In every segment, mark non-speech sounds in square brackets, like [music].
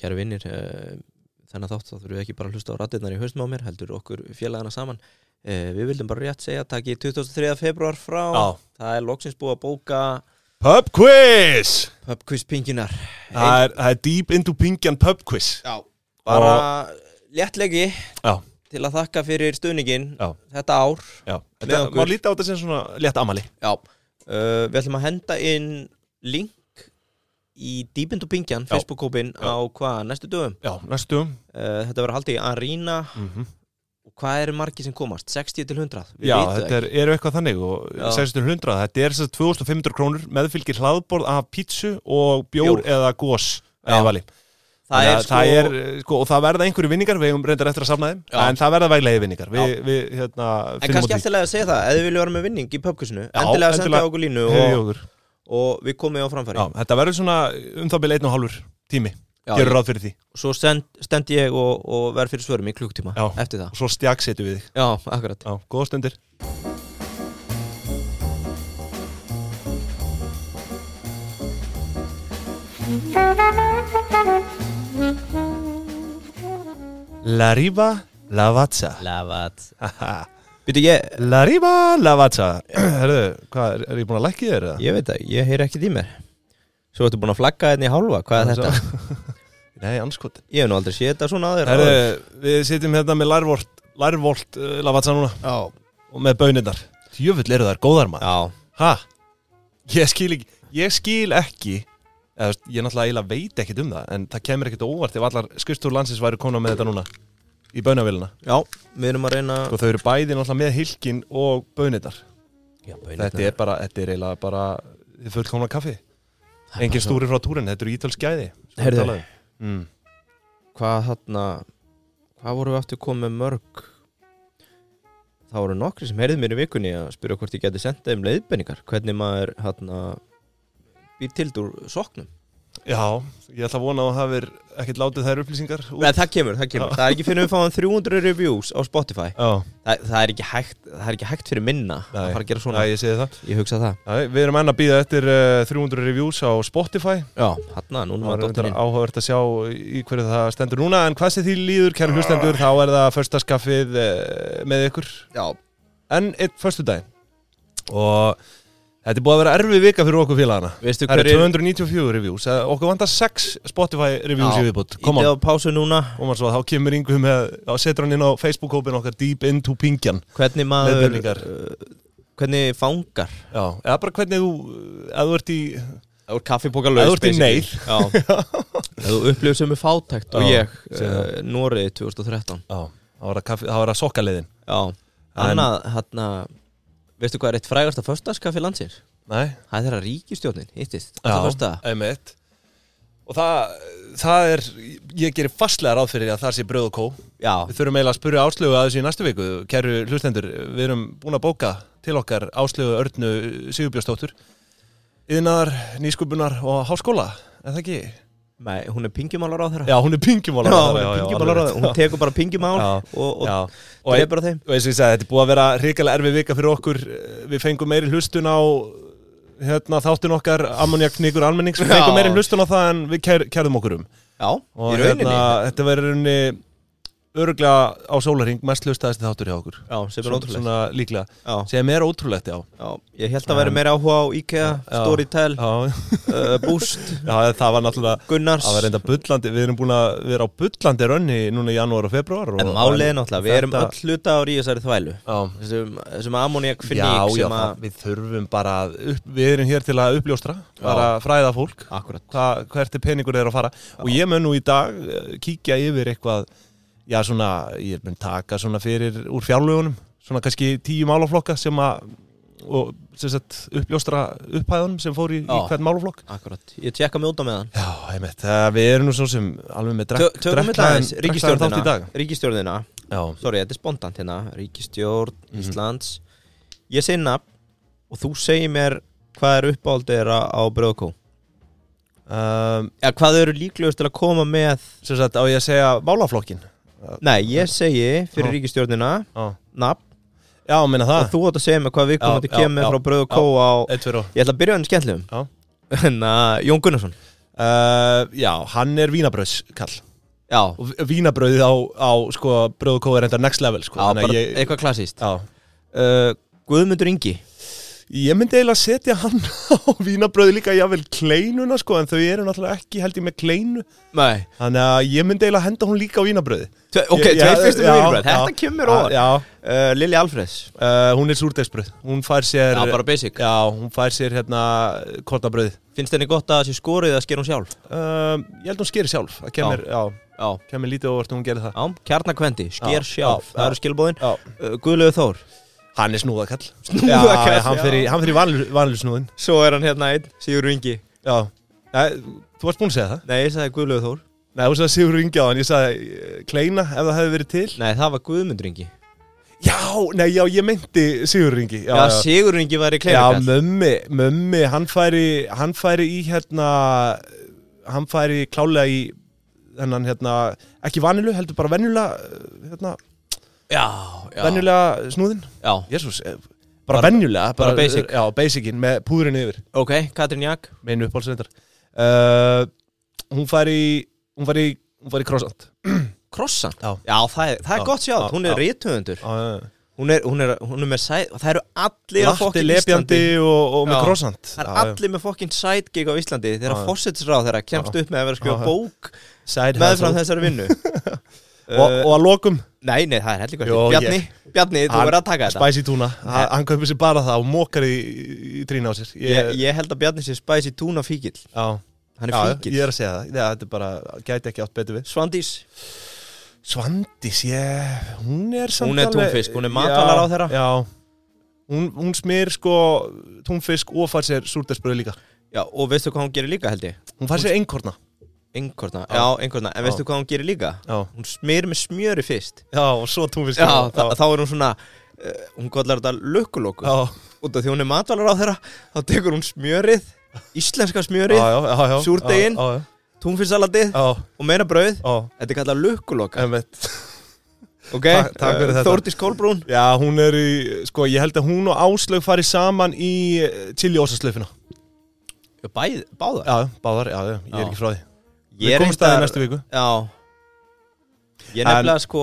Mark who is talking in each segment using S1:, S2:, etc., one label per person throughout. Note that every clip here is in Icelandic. S1: kæru vinnir eh, þennan þátt þá þurfum við ekki bara að hlusta á rattirnar í haustum á mér heldur okkur félagana saman eh, við vildum bara rétt segja takk í 23. februar frá
S2: Já.
S1: það er loksins búið að bóka
S2: Pub quiz
S1: pub quiz pinginar
S2: Það er, það er deep into pingjan pub quiz
S1: já, bara léttlegi
S2: Já,
S1: til að þakka fyrir stuðningin
S2: Já.
S1: þetta ár
S2: já
S1: Með
S2: Þetta
S1: okkur.
S2: má líta á þetta sem svona létt amali
S1: Já, uh, við ætlum að henda inn link í Deepind og Bingjan,
S2: Já.
S1: Facebook-kópin á hvað, næstu dögum
S2: Já, næstu
S1: uh, Þetta verður haldið í Arena
S2: mm
S1: og hvað eru margir sem komast? 60 til 100? Við
S2: Já,
S1: vitum það
S2: þetta er, eru eitthvað þannig og
S1: Já.
S2: 600, þetta er þess að 2500 krónur meðfylgir hlaðborð af pítsu og bjór
S1: Bjór.
S2: eða gós
S1: Já.
S2: eða vali
S1: Það
S2: Þannig
S1: er
S2: að
S1: sko,
S2: það er, eh, sko, og það verða einhverju vinningar, við eigum reyndar eftir að safna þeim
S1: Já.
S2: en það verða væglegi vinningar við, við hérna,
S1: en kannski eftirlega að segja það ef þið vilja vera með vinning í pubquizinu endilega að senda
S2: endilega.
S1: okkur línu
S2: hefði
S1: og,
S2: okkur
S1: og við komum á framfæri
S2: Já, þetta verður svona um það byrja einn og hálfur tími,
S1: Já,
S2: gerur ráð fyrir því
S1: Svo send, stend ég og, og verð fyrir svörum í klukktíma
S2: Já.
S1: eftir það
S2: og svo stjagsetu við þig
S1: Já, akkurat
S2: Já, góða stundir La Riva La Vazza [laughs]
S1: Lavat
S2: Haha.
S1: Býtu ég,
S2: La Riva La Vazza Herðu, hvað, er, er ég búin að lækki þér? eða?
S1: ég veit það, ég heyri ekkert í mér Svo ertu búin að flagga hérna í hálfa, hvað er
S2: Já,
S1: þetta?
S2: Nei, anskot
S1: Ég hef nú aldrei séð þetta svona aður
S2: Herðu, við sitjum hérna með Lærvolt Lærvolt uh, La Vazza núna
S1: Já,
S2: og með bönirnar Jöfull eru þær góðar maður
S1: já,
S2: Hæ? Ég skil ekki Ég skil ekki eða, þú veist, Ég náttúrulega eiginlega veit ekkert um það En það kemur ekkert á óvart Ef allar skustúr landsins væri konar með þetta núna Í bönavélina
S1: við erum að reyna
S2: Og þau eru bæði náttúrulega með hilkin og bönirnar
S1: já,
S2: Þetta er bara, þetta er eiginlega bara Þið fullkomna kaffi Engin stúri frá túrin, þetta eru ítalskæði
S1: Heyrðu.
S2: mm.
S1: Hvað þarna, hvað vorum við aftur komið mörg Það voru nokkri sem heyrðu mér í vikunni að spyrja hvort ég geti sendað um leiðbenningar Hvernig maður þarna býr til úr soknum
S2: Já, ég ætla að vona að það hefur ekkert látið þær upplýsingar út.
S1: Nei, það kemur, það kemur Það er ekki fyrir við fáum 300 reviews á Spotify
S2: Já,
S1: það, það, er ekki hægt, það er ekki hægt fyrir minna að
S2: Nei.
S1: fara að gera svona
S2: já, ég segi það
S1: Ég hugsa það
S2: Æ, Við erum enn að býða eftir uh, 300 reviews á Spotify
S1: Já, þarna, núna
S2: Það
S1: var
S2: er
S1: dóttirinn
S2: reyndar áhugavert að sjá í hverju það stendur núna en hvað sem því líður, kæru hlustendur, þá er það förstaskaffið með ykkur
S1: Já,
S2: en einn förstudaginn og þetta er búið að vera erfið vika fyrir okkur félagana
S1: veistu
S2: Það eru
S1: hverju
S2: 294 reviews, eh, okkur vantar 6 Spotify reviews
S1: Já.
S2: í viðbútt Koma,
S1: Ítið á pásu núna
S2: koma svo, þá kemur yngu með, þá setur hann inn á Facebook-hópin okkar Deep Into Pingjan
S1: Hvernig maður
S2: Leiðbeiningar.
S1: uh, Hvernig fangar
S2: Já, eða bara hvernig þú, eða þú ert í,
S1: Það voru kaffipóka
S2: laus, basically.
S1: Já
S2: [laughs]
S1: Þú upplifir sem er fátækt og
S2: Já,
S1: ég
S2: sé það.
S1: uh, Norið 2013
S2: já, þá var það kaffi- þá var það sokkaleiðin
S1: Já Annað, hérna Veistu hvað er eitt frægasta föstaskaffi landsins?
S2: Nei,
S1: Það er þeirra ríkistjórnin, hittist
S2: Já,
S1: Já
S2: einmitt Og það, það er, ég gerir fastlega ráð fyrir að það sé bröð og kó
S1: Já,
S2: Við þurfum eiginlega að spurja áslögu að þessu í næstu viku Kæru hlustendur, við erum búin að bóka til okkar áslögu Örnu Sigurbjörnsdóttur Yðnaðar, nýskupunar og háskóla Er það ekki?
S1: Nei, hún er pingjumálar á þeirra
S2: Já, hún er pingimál
S1: hún er pingjumálar á þeirra Hún tekur bara pingjumál
S2: Já.
S1: og,
S2: Já,
S1: og
S2: og ein,
S1: dreipur á þeim
S2: og eins og ég segi, þetta er búið að vera hrikalega erfið vika fyrir okkur Eh, Við fengum meiri hlustun á hérna, þáttun okkar Ammoniakníkur almennings Við fengum
S1: Já.
S2: meiri hlustun á það en við kær, kærðum okkur um
S1: Já,
S2: og
S1: í rauninni
S2: hérna, þetta verður rauninni öruglega á sólarhing mest hlustaðist þáttur hjá okkur
S1: Já, sem er
S2: Svona-
S1: ótrúlegt
S2: svona líklega,
S1: Já,
S2: sem er ótrúlegt já,
S1: já, ég held að vera meira áhuga á IKEA,
S2: Já.
S1: Storytel,
S2: já,
S1: uh, Boost,
S2: já það var náttúrulega
S1: Gunnars
S2: það var reynda bullandi, við erum búin að vera á bullandi rönni núna í janúar og februar og,
S1: En málið er náttúrulega, við erum
S2: Þetta-
S1: öll hluta ári í þessari þvælu
S2: já,
S1: Þessum, þessum ammoniak
S2: já, já
S1: sem
S2: það,
S1: að
S2: við þurfum bara að upp, við erum hér til að uppljóstra bara fræða fólk
S1: Akkurat
S2: hva, hvert er peningur þeirra að fara og ég mun nú í dag eh, kíkja yfir eitthvað já svona, ég mun taka svona fyrir úr fjárlögunum svona kannski tíu málaflokka sem að og sem sagt uppljóstra upphæðunum sem fór í, í
S1: Já.
S2: hvern málaflokk
S1: Akkurat, ég tjekka mig út á meðan
S2: Já, einmitt, það, við erum nú svo sem alveg með
S1: Tö-
S2: drekk,
S1: Tökum við aðeins,
S2: þátt í
S1: ríkistjórnina
S2: dag
S1: Ríkistjórnina,
S2: Já,
S1: sorry, þetta er spontant hérna Ríkistjórn,
S2: Mhm.
S1: Íslands Ég segi nafn og þú segir mér hvað er uppáldið þeirra á Bröðkó
S2: um,
S1: Eða hvað þau eru líklegust til að koma með
S2: sem sagt á ég að segja málaflokkin
S1: Nei, ég segi fyrir
S2: Já.
S1: ríkistjórnina
S2: Já,
S1: nafn
S2: já meina
S1: og
S2: það
S1: þú átt að segja mér hvað við komum
S2: Já,
S1: að kemja
S2: já,
S1: frá Bröðkó á
S2: Eitt fyrir og
S1: [laughs] Ég ætla að byrja á henni skemmtlum
S2: Já.
S1: En að Jón Gunnarsson
S2: Uh, já, hann er vínabröðskall
S1: Já,
S2: og v- vínabrauðið á, á sko, bröðkóð er enda next level sko.
S1: já
S2: þannig
S1: bara
S2: að ég,
S1: eitthvað klassíst
S2: já.
S1: uh, Guðmundur Ingi
S2: ég myndi eiginlega setja hann [laughs] á vínabrauðið líka jável kleinuna sko, en þau eru náttúrulega ekki held ég með kleinu
S1: Nei
S2: þannig að ég myndi eiginlega henda hún líka á vínabrauðið
S1: Tve, Ok,
S2: Ég-
S1: tveir
S2: já,
S1: fyrstu
S2: já,
S1: vínbröð,
S2: já.
S1: þetta kemur
S2: Já,
S1: ofan
S2: já,
S1: uh, Lili Alfreðs
S2: uh, hún er súrdeisbröð hún fær sér
S1: Já, bara basic
S2: já, hún fær sér hérna kortabrauð
S1: Finnst henni gott að það sé skorið að sker hún sjálf?
S2: uh, ég held hún sker sjálf það kemur, já.
S1: Já,
S2: kemur lítið óvart hún gerir það
S1: já kjarnakvendi, sker
S2: Já,
S1: sjálf
S2: já,
S1: Það
S2: já.
S1: eru skilbóðin
S2: já.
S1: uh, Guðlegu Þór
S2: hann er snúðakall
S1: Snúðakall,
S2: já, hann
S1: já.
S2: fer í, hann fer í vanlu, vanlu snúðin
S1: Svo er hann hérna einn, Sigur Ingi
S2: Já, Nei, þú varst búin að segja það
S1: Nei, ég sagði Guðlegu Þór
S2: Nei, þú sagði Sigur Ingi á hann, ég sagði eh, Kleina ef það hefði verið til
S1: Nei, það var Guðmundur Ingi Já,
S2: Já, nei, já, ég meinti Sigur Ingi Já, já,
S1: Sigur Ingi var í
S2: já
S1: kleinakall
S2: mömmi, mömmi, hann færi, hann færi í hérna Hann færi klálega í þennan hérna, ekki vanilu, heldur bara venjulega, eh, hérna,
S1: Já, já,
S2: venjulega snúðin
S1: já
S2: Jésús, eh, bara,
S1: Bara-
S2: venjulega
S1: bara basic.
S2: Já, basicin, með púðurinn yfir,
S1: Ok, Katrin Jak
S2: meinu uppáhaldsreyndar uh, Hún færi, hún færi, hún færi krossant
S1: Krossan
S2: Já.
S1: það er, það er
S2: Já,
S1: gott sjátt
S2: já,
S1: Hún er
S2: já.
S1: rítuðundur
S2: Já, já, já
S1: Hún er, hún er, hún er með sæt Það eru allir á
S2: Latti
S1: fokkin
S2: lepjandi
S1: Íslandi
S2: og, og
S1: Já.
S2: með krossant
S1: Það er allir með fokkin sætgig á Íslandi Þegar
S2: Já, já.
S1: fósitsráð þeirra kemst upp með að vera að
S2: Já,
S1: skrifa
S2: já.
S1: bók
S2: Side
S1: meðfram
S2: hustle
S1: þessari
S2: [laughs]
S1: vinnu
S2: og,
S1: Uh,
S2: og að lokum
S1: Nei, nei, það er heldur
S2: Jó,
S1: ekki Bjarni, Bjarni, þú
S2: Hann-
S1: verður að taka þetta
S2: Spicy tuna, Ha- hann kaupir sér bara það og mókar í, í trína á sér
S1: ég, ég held að Bjarni sé Spicy tuna fíkil
S2: já,
S1: Hann
S2: já,
S1: er fíkil
S2: ég er að segja það, Já, þetta er bara, gæti ekki átt betur við
S1: Svandís
S2: Svandís, ég, hún er samt
S1: Hún er
S2: alveg-
S1: túnfisk, hún er
S2: Já,
S1: matvælaráðherra.
S2: Já, hún, hún smyr sko túnfisk og fær sér súrdersbröð líka
S1: Já, og veistu hvað hún gerir líka held ég?
S2: Hún fær sér einkorna
S1: Einhverna,
S2: Já.
S1: já, einhverna En veistu hvað hún gerir líka?
S2: Já,
S1: Hún smyr með smjöri fyrst
S2: já og svo túnfisk
S1: Já, þa þá er hún svona uh, Hún kallar þetta lukkulokku
S2: já,
S1: Út af því hún er matvælar á þeirra Þá tekur hún smjörið, íslenska
S2: já,
S1: smjörið
S2: já, já, já
S1: Súrdeginn.
S2: Já, já,
S1: Túnfinnsalatið
S2: já,
S1: og meira brauð
S2: já,
S1: Þetta er kallað lukkulokka
S2: emmitt
S1: Ok,
S2: takk- takk fyrir þetta.
S1: Þórdís Kolbrún
S2: Já, hún er í, sko, ég held að hún og Áslaug fari saman í eh, chili ósaslaufina.
S1: Já, Bæð, báðar
S2: Já, báðar, já, já, ég er
S1: Já.
S2: ekki frá því.
S1: Ég
S2: Við
S1: er
S2: komumst að því
S1: reyndar-
S2: næstu viku.
S1: Já Ég
S2: En-
S1: nefnilega sko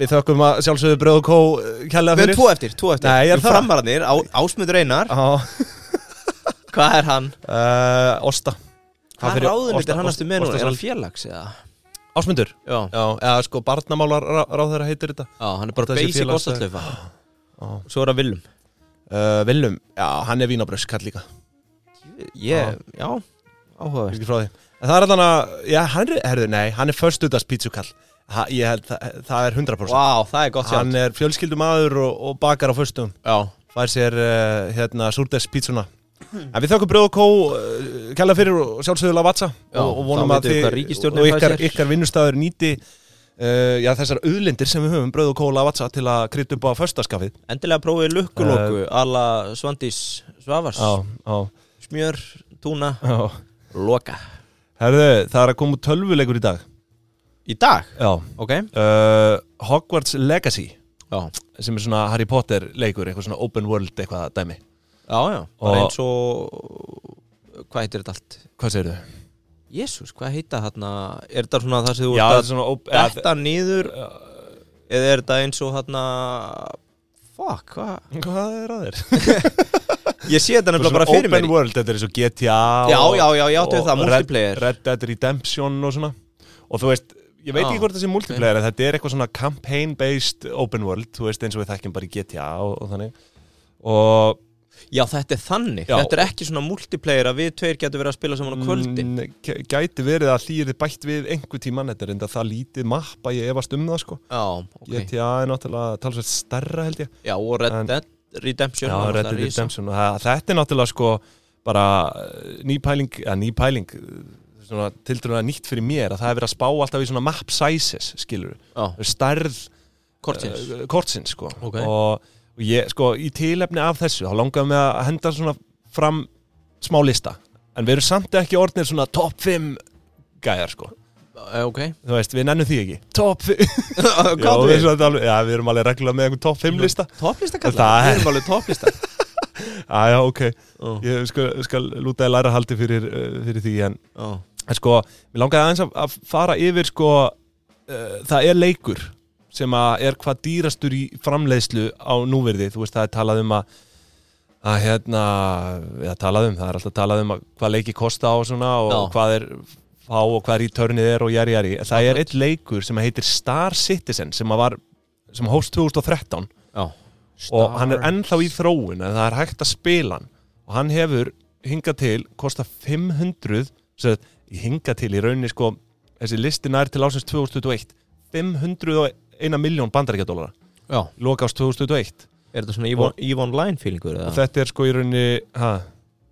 S2: Við þökkum að sjálfsögðu Bröð og Kó uh, kærlega
S1: Við erum
S2: fyrir.
S1: tvo eftir, tvo eftir
S2: Nei, er
S1: Við
S2: það? Ah.
S1: framararnir, á, Ásmundur Einar
S2: Já,
S1: Hvað er hann?
S2: uh, Ósta. Hvað
S1: Hvað
S2: fyrir
S1: ráðunit
S2: Ásta-
S1: er hann aftur með núna?
S2: Ásta-
S1: Er hann félags eða?
S2: Ásmundur.
S1: Já,
S2: Já, eða sko, barnamálar ráðherra heitir þetta.
S1: já hann er bara
S2: Þetta sé
S1: basic
S2: félags-
S1: ostatlöfa
S2: Já.
S1: Svo er hann Willum
S2: Uh, Willum, já, hann er vínabröðs kall líka.
S1: Ég, já,
S2: Ég er
S1: áhugavert
S2: ekki frá því. En það er allan að, já, hann er, herðu, nei, hann er förstutast pítsukall. Ha, ég held, það, það er 100%.
S1: Vá, það er gott
S2: Hann
S1: sjátt
S2: er fjölskyldumadur og, og bakar á föstum.
S1: Já,
S2: fær sér uh, hérna súrdes pítsuna en við þökkum bröð og kó uh, kella fyrir og sjálfsögðulega vatsa
S1: Já,
S2: og, og vonum
S1: þá
S2: að
S1: vitum við
S2: þið
S1: hvað ríkisstjórnin
S2: og
S1: fær
S2: ykkar,
S1: sér.
S2: ykkar vinnustæður nýti uh, já, þessar auðlindir sem við höfum bröð og kó vatsa til að krytta upp á föstaskafið
S1: endilega prófið lukkulokku Alla Svandís Svavars
S2: Eh, já,
S1: Smjör, túna,
S2: já
S1: loka
S2: herðu, það er að koma út tölvuleikur í dag
S1: Í dag,
S2: já
S1: ok
S2: uh, Hogwarts Legacy
S1: Já,
S2: sem er svona Harry Potter leikur eitthvað svona open world eitthvað dæmi
S1: já, já Bara
S2: Og-
S1: eins og Hvað heitir þetta allt?
S2: hvað segir þau?
S1: Jésús, hvað heita þarna Er þetta svona það sem þú
S2: já,
S1: ert
S2: það
S1: að
S2: er svona op- eða-
S1: detta nýður eða er þetta eins og hérna fuck, hvað
S2: hvað er að þér?
S1: ég sé þetta nefnilega
S2: Svona
S1: bara fyrir
S2: open
S1: mér
S2: world, þetta er eins og GTA
S1: já,
S2: og-
S1: já, já, ég átti
S2: og
S1: við það, multiplayer
S2: Red, Red Dead Redemption og svona og þú veist, ég veit
S1: Já,
S2: ekki hvort það sé multiplayer en þetta er eitthvað svona campaign based open world, þú veist eins og við þekkjum bara í GTA og, og þannig og
S1: já, þetta er þannig,
S2: Já.
S1: þetta er ekki svona multiplayer að við tveir getur verið að spila saman á kvöldin
S2: Mm, gæ- gæti verið að því er bætt við einhver tíman, þetta er enda það lítið mappa ég efast um það sko
S1: já, ok,
S2: GTA er náttúrulega talsvægt stærra held ég
S1: já, og Red
S2: En-
S1: Dead Redemption
S2: Já,
S1: var
S2: Red
S1: náttúrulega
S2: Dead
S1: risa.
S2: Redemption og það- þetta er náttúrulega sko bara eh, ný pæling, eða ný pæling eh, svona tildurlega nýtt fyrir mér að það er verið að spá alltaf í svona map sizes skilur,
S1: já,
S2: stærð
S1: kortins
S2: eh, kortsins sko
S1: Ok.
S2: og, og ég sko í tilefni af þessu þá langaðum við að henda svona fram smá lista, en við erum samt ekki orðnir svona top 5 gæjar sko,
S1: Eh, [laughs] ok,
S2: þú veist, við nennum því ekki top 5,
S1: [laughs]
S2: já,
S1: hvað
S2: við,
S1: við
S2: erum samt alveg, já, við erum alveg reglulega með einhver top 5 lista
S1: topplista kallar,
S2: Það-
S1: við erum alveg topplista
S2: [laughs]
S1: Oh.
S2: aðja, ok,
S1: Ó,
S2: ég skal, skal lúta að læra haldi fyrir, eh, fyrir því en
S1: ó.
S2: en sko, mér langaði aðeins að, að fara yfir sko, uh, það er leikur sem að er hvað dýrastur í framleiðslu á núverði, þú veist það er talað um að að hérna, já talað um, það er alltaf talað um að hvað leiki kosta og svona og
S1: Já.
S2: hvað er fá og hvað rítörnið er og jari jari, það er eitt leikur sem heitir Star Citizen sem að var sem hóst 2013
S1: Já
S2: og hann er ennþá í þróun en það er hægt að spila hann og hann hefur hingað til kosta 500 sem sagt, hingað til í rauninni sko þessi listi nær til ásins 2021 501 miljón bandaríkjadólara
S1: Já,
S2: loka ás 2021
S1: er þetta svona Eve- Eve Online feelingur?
S2: og
S1: eða?
S2: þetta er sko í rauninni ha,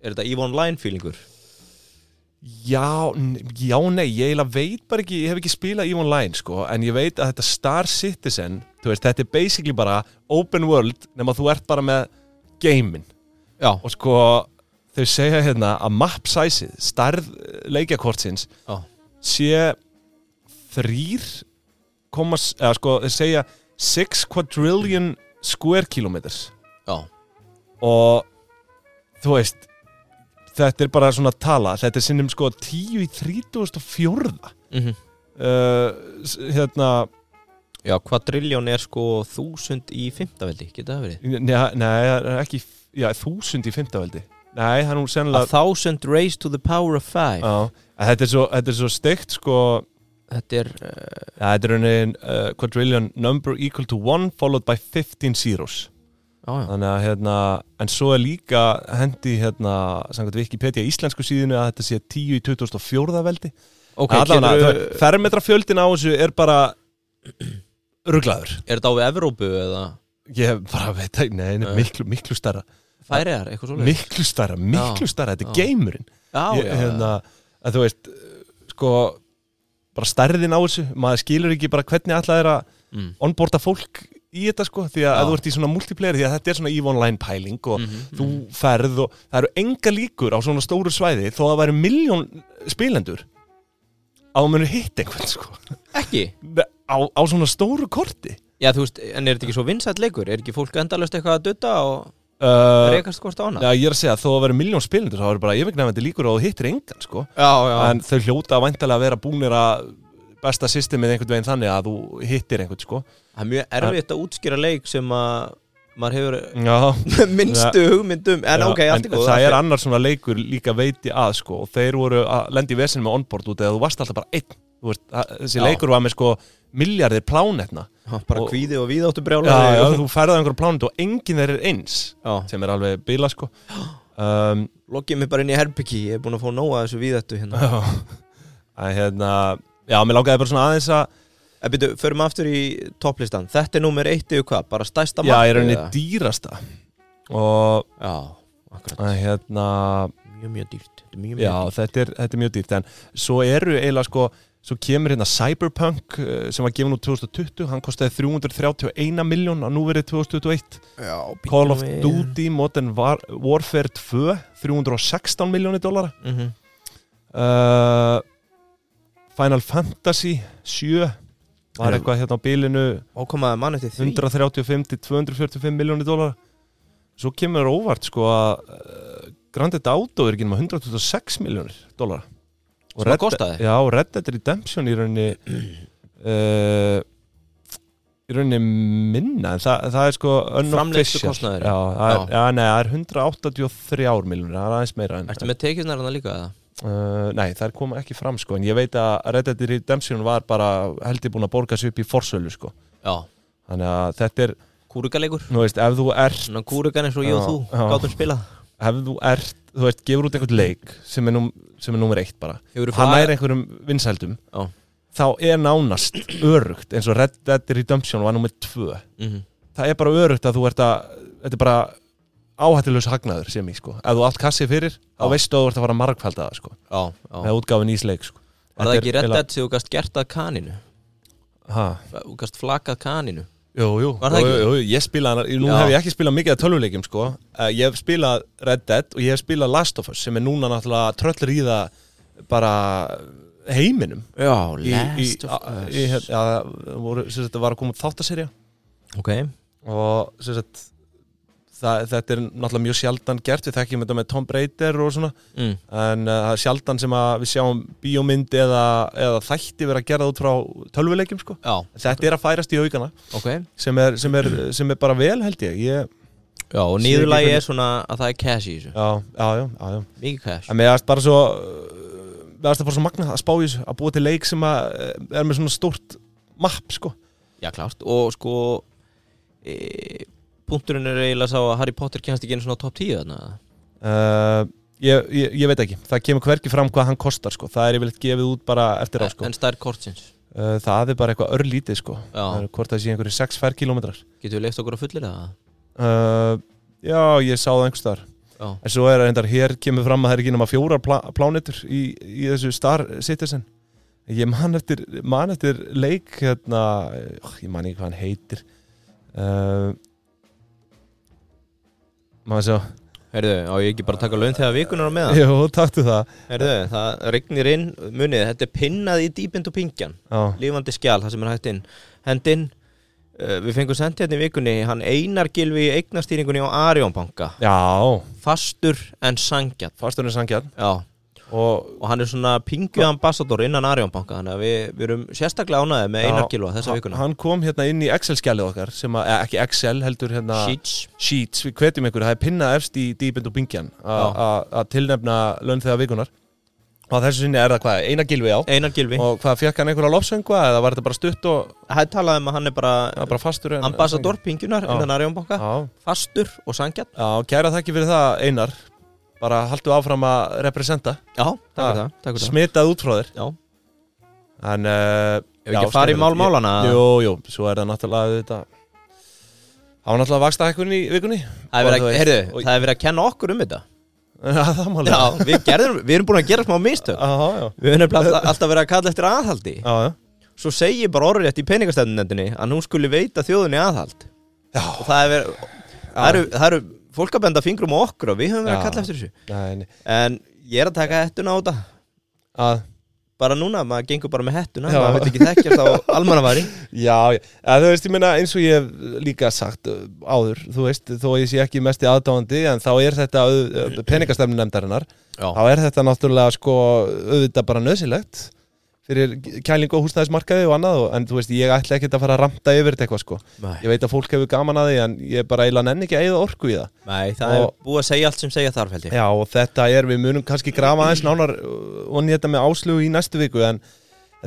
S1: Er þetta Eve Online feelingur?
S2: já, n- já nei ég eiginlega veit bara ekki, ég hef ekki spilað EVE Online sko, en ég veit að þetta Star Citizen þú veist, þetta er basically bara open world nema þú ert bara með gamein
S1: Já,
S2: og sko þau segja hérna að map size stærð leikjakortsins
S1: já,
S2: sé þrýr komas, eða sko þau segja 6 quadrillion square kilometers
S1: já.
S2: og þú veist þetta er bara svona tala þetta er sinnum sko 10 í 34 uh,
S1: Mm
S2: s- hérna
S1: Já, kvadrilljón er sko þúsund í fymtaveldi, getur það verið?
S2: nei, nei, það er ekki já, 1000 í 50 veldi nei, það er nú
S1: A
S2: sennilega
S1: thousand raised to the power of five
S2: Já, en þetta er svo, þetta er svo steikt sko
S1: Þetta er, uh,
S2: Ja, þetta er raunin uh, quadrillion number equal to 1 followed by 15 zeros
S1: já, já,
S2: þannig að hérna, en svo er líka hendi hérna, samkvæmt Wikipedia íslensku síðinu að þetta sé 10 í 2004 veldi
S1: ok,
S2: okay, Allavega,
S1: getur,
S2: getur... fermetrafjöldin á þessu er bara ruglaður
S1: er þetta á Evrópu eða
S2: ég bara veit ekki, nei, nei,
S1: Nei.
S2: miklu, miklu starra
S1: færiðar, eitthvað Eh. svoleiðis?
S2: miklu starra, miklu starra, þetta
S1: já.
S2: er geimurinn
S1: Já,
S2: ég,
S1: já,
S2: hérna, að þú veist sko, bara stærðin á þessu maður skilur ekki bara hvernig alltaf er að
S1: Mm.
S2: onboarda fólk í þetta sko því að,
S1: Já.
S2: að þú ert í svona multiplayer því að þetta er svona EVE Online pæling og
S1: Mhm,
S2: þú ferð og það eru enga líkur á svona stóru svæði þó að það væri miljón spilendur á að munu hitt einhvern sko
S1: já. Ekki?
S2: á, á svona stóru korti
S1: Já, þú veist, en er þetta ekki svo vinsætt leikur? Er ekki fólk endalaust eitthvað að dutta og
S2: uh,
S1: rekast hvort á hana?
S2: ja, ég er að segja þó að væri miljón spilendur þá eru bara yfirgnæfandi líkur á að þú hittir engan sko
S1: Já, já,
S2: en þau hljóta væntalega að vera búnir að besta systemið einhvern veginn þannig að þú hittir einhvern sko
S1: það er mjög erfitt að útskýra leik sem að maður hefur [laughs]
S2: Já,
S1: minnstu hugmyndum en ok,
S2: Já,
S1: allt í
S2: en
S1: góð
S2: það er annar svona leikur líka veiti að sko og þeir voru að lenda í vesinu með onboard út eða þú varst alltaf bara einn Þú veist, að, þessi
S1: Já.
S2: leikur var með sko miljardir plánetna
S1: Já, bara
S2: og-
S1: kvíði og víðáttu brjála
S2: já, já, þú færði einhverju plánetu og enginn þeir er eins sem er alveg bila
S1: [gasps]
S2: sko um, [laughs]
S1: Loggið mig bara inn í herbyggi, ég er búin að fá nóga þessu víðáttu hérna
S2: já, að, hérna, já, mér langaði bara svona aðeins að
S1: En byrju, förum aftur í topplistan Þetta er númer eitt yfir hvað, bara stærsta
S2: já,
S1: markið
S2: ég er rauninni
S1: eða?
S2: dýrasta og
S1: Já, akkurat,
S2: að, hérna
S1: mjög mjög dýrt Þetta er mjög mjög
S2: Já, þetta er, þetta er mjög dýrt en svo eru eiginlega sko svo kemur hérna Cyberpunk eh, sem var gefin út 2020, hann kostiði 331 miljón að nú verið 2021
S1: dýrt Já, býtum
S2: Call of
S1: við.
S2: Duty Modern War, Warfare 2 316 miljónir dólara
S1: Mhm.
S2: uh, Final Fantasy 7 var
S1: Herru.
S2: eitthvað hérna á bílinu
S1: Og komaði mann eftir því
S2: 135 til 245 miljónir dólara svo kemur þér óvart sko að uh, Grand Theft Auto er ekki nema 126 miljónir dólara
S1: Sem það kostaði?
S2: Já, og Red Dead Redemption í rauninni [clears throat] uh, í rauninni minna en það, það er sko unofficial.
S1: Framleiðslukostnaður.
S2: Já, það er,
S1: Já.
S2: já, nei, það er 183 miljónir, það er aðeins meira en
S1: Ertu með tekjurnar hana líka eða?
S2: Uh, nei, þær koma ekki fram sko en ég veit að Red Dead Redemption var bara heldur búin að borga sér upp í forsölu sko
S1: Já,
S2: þannig að þetta er,
S1: kúrikaleikur
S2: þú veist, ef þú ert
S1: Svona kúrikan eins og ég og
S2: Já,
S1: þú
S2: já.
S1: gátum spilað
S2: ef þú ert, þú veist, gefur út einhvern leik sem er, num, sem er nummer eitt bara
S1: Hefurðu
S2: hann
S1: farið-
S2: er einhverjum vinsældum
S1: Já.
S2: þá er nánast örugt eins og Red Dead Redemption var nummer tvö
S1: Mhm.
S2: það er bara örugt að þú ert að þetta er bara áhættilegs hagnaður sem ég sko, ef þú átt kassi fyrir
S1: Já.
S2: þá veistu að þú ert að fara að margfalda það sko
S1: Já, já
S2: með útgáfi nýs leik sko
S1: Var það ekki reddað sem þú gast gert að kaninu?
S2: reddett?
S1: Þú gast flakað kaninu?
S2: Jú, jú,
S1: Var það
S2: jú,
S1: ekki?
S2: jú, jú, ég spila hann, nú
S1: Já.
S2: hef ég ekki spilað mikið að tölvuleikjum sko, Eh, ég hef spilað Red Dead og ég hef spilað Last of Us sem er núna náttúrulega tröllir í það bara heiminum
S1: Já,
S2: Í- í, a- í, hér- Já, það voru, sem sagt, það var að koma þáttaserja
S1: Ok,
S2: og sem sagt það, þetta er náttúrulega mjög sjaldan gert við þekkjum þetta með Tom Braider og svona
S1: mm.
S2: en uh, það er sjaldan sem að við sjáum bíómynd eða, eða þætti vera gerða út frá tölvuleikjum sko
S1: Já,
S2: þetta er að færast í aukana
S1: ok
S2: sem er, sem [clears throat] er, sem er bara vel held ég, ég
S1: Já, og
S2: Sér
S1: nýðurlagi
S2: ekki
S1: er svona að það er cash í þessu
S2: já, já, já, já, já
S1: Mikið cash
S2: en mér erst bara svo uh, mér erst það bara svo magnað að spá í þessu að búa til leik sem að uh, er með svona stórt mapp sko
S1: Já, klárt Og sko e, Punkturinn er eiginlega sá að Harry Potter kennst ekki einu svona top 10 þarna
S2: uh, ég, ég, ég veit ekki, það kemur hverki fram hvað hann kostar sko, það er yfirleitt gefið út bara eftir á sko,
S1: En stær kortsins
S2: uh, það er bara eitthvað örlítið sko, það
S1: Já,
S2: er hvort það sé einhverju 6-5 kilometrar
S1: getum við leift okkur að fullir það?
S2: uh, Já, ég sá það einhvers þar
S1: Já,
S2: En svo er reyndar, hér kemur fram að það er ekki nema fjórar plá, plánetur í, í þessu Star Citizen Ég man eftir, man eftir leik hérna, ó, ég man ekki hvað hann heitir uh, Maður sjá
S1: herðu, á ég ekki bara að taka laun þegar vikunar á meðan
S2: Jú, taktu það
S1: Herðu, það regnir inn, munið, þetta er pinnað í dýbind og pingjan
S2: Já,
S1: Lífandi skjál, það sem er hægt inn Hendinn, uh, við fengum sendið hérna í vikunni Hann einar gilfi í eignastýringunni á Arjónbanka
S2: já
S1: Fastur en sangjall
S2: fasturinn sangjarn
S1: Já,
S2: og
S1: og hann er svona pingju ambassador innan Arjónbanka Þannig að við, við erum sérstaklega ánæðið með einar
S2: Já,
S1: gilfa þessa vikuna
S2: hann kom hérna inn í Excel-skjalið okkar sem að, eða, ekki Excel heldur hérna
S1: Sheets
S2: Sheets, við hvetjum ykkur, það er pinnað efst í dýbind og bingjan
S1: Já.
S2: að tilnefna laun þegar vikunar og að þessu sinni er það hvað, eina gilvi á
S1: Einar Gilvi,
S2: og hvað, fekk hann einhverja lofsöngu eða var þetta bara stutt og
S1: hann talaði um að hann er bara
S2: ja, bara fastur en,
S1: ambassador pingjunar
S2: Já.
S1: innan Arjónbanka
S2: Já,
S1: Fastur og sangjall
S2: já, kæra þakki fyrir það Einar bara haldu áfram að representa
S1: Já, takk fyrir
S2: Já.
S1: það, takk fyrir það
S2: smitað út frá þér
S1: Já.
S2: en uh,
S1: Ef ekki fara í mál málana
S2: Jú, jú, svo er það náttúrulega þetta Það var náttúrulega vaksta í vikunni
S1: Það er verið
S2: Og
S1: að,
S2: þú
S1: heyrðu,
S2: veist- og-
S1: það er verið að kenna okkur um þetta
S2: [laughs] Já, það máli
S1: Já, við, gerðum, við erum búin að gera smá mistök
S2: Já, já,
S1: Við höfum nefnilega alltaf- alltaf verið að kalla eftir aðhaldi
S2: já, já.
S1: Svo segir bara orðrétt í peningastefnunendinni að nú skuli veita þjóðinni aðhald
S2: Já.
S1: Og það er verið Það eru, það eru fólk að benda fingrum á okkur og við höfum verið að
S2: Já.
S1: kalla eftir þessu
S2: Nei, nei.
S1: En ég er að taka hettuna á þetta
S2: Að,
S1: Bara núna, maður gengur bara með hettuna
S2: Já.
S1: Maður veit ekki þekkjast á almannavari
S2: já, já. Að, þú veist, ég meina eins og ég hef líka sagt uh, áður, þú veist, þó að ég sé ekki mest í aðdáandi, en þá er þetta uh, peningastefni nefndarinnar, þá
S1: Já,
S2: er þetta náttúrulega sko auðvitað bara nöðsilegt fyrir kæling og húsnæðismarkaði og annað, og- en þú veist, ég ætla ekkert að fara að ramta yfir þetta eitthvað sko. Ég
S1: nei,
S2: veit að fólk hefur gaman að því, en ég bara eila nenni ekki að eigða orku í það.
S1: nei, það er
S2: Og-
S1: búið að segja allt sem segja þarf held ég
S2: Já, og þetta er, við munum kannski grafa aðeins nánar uh, onni þetta með áslug í næstu viku en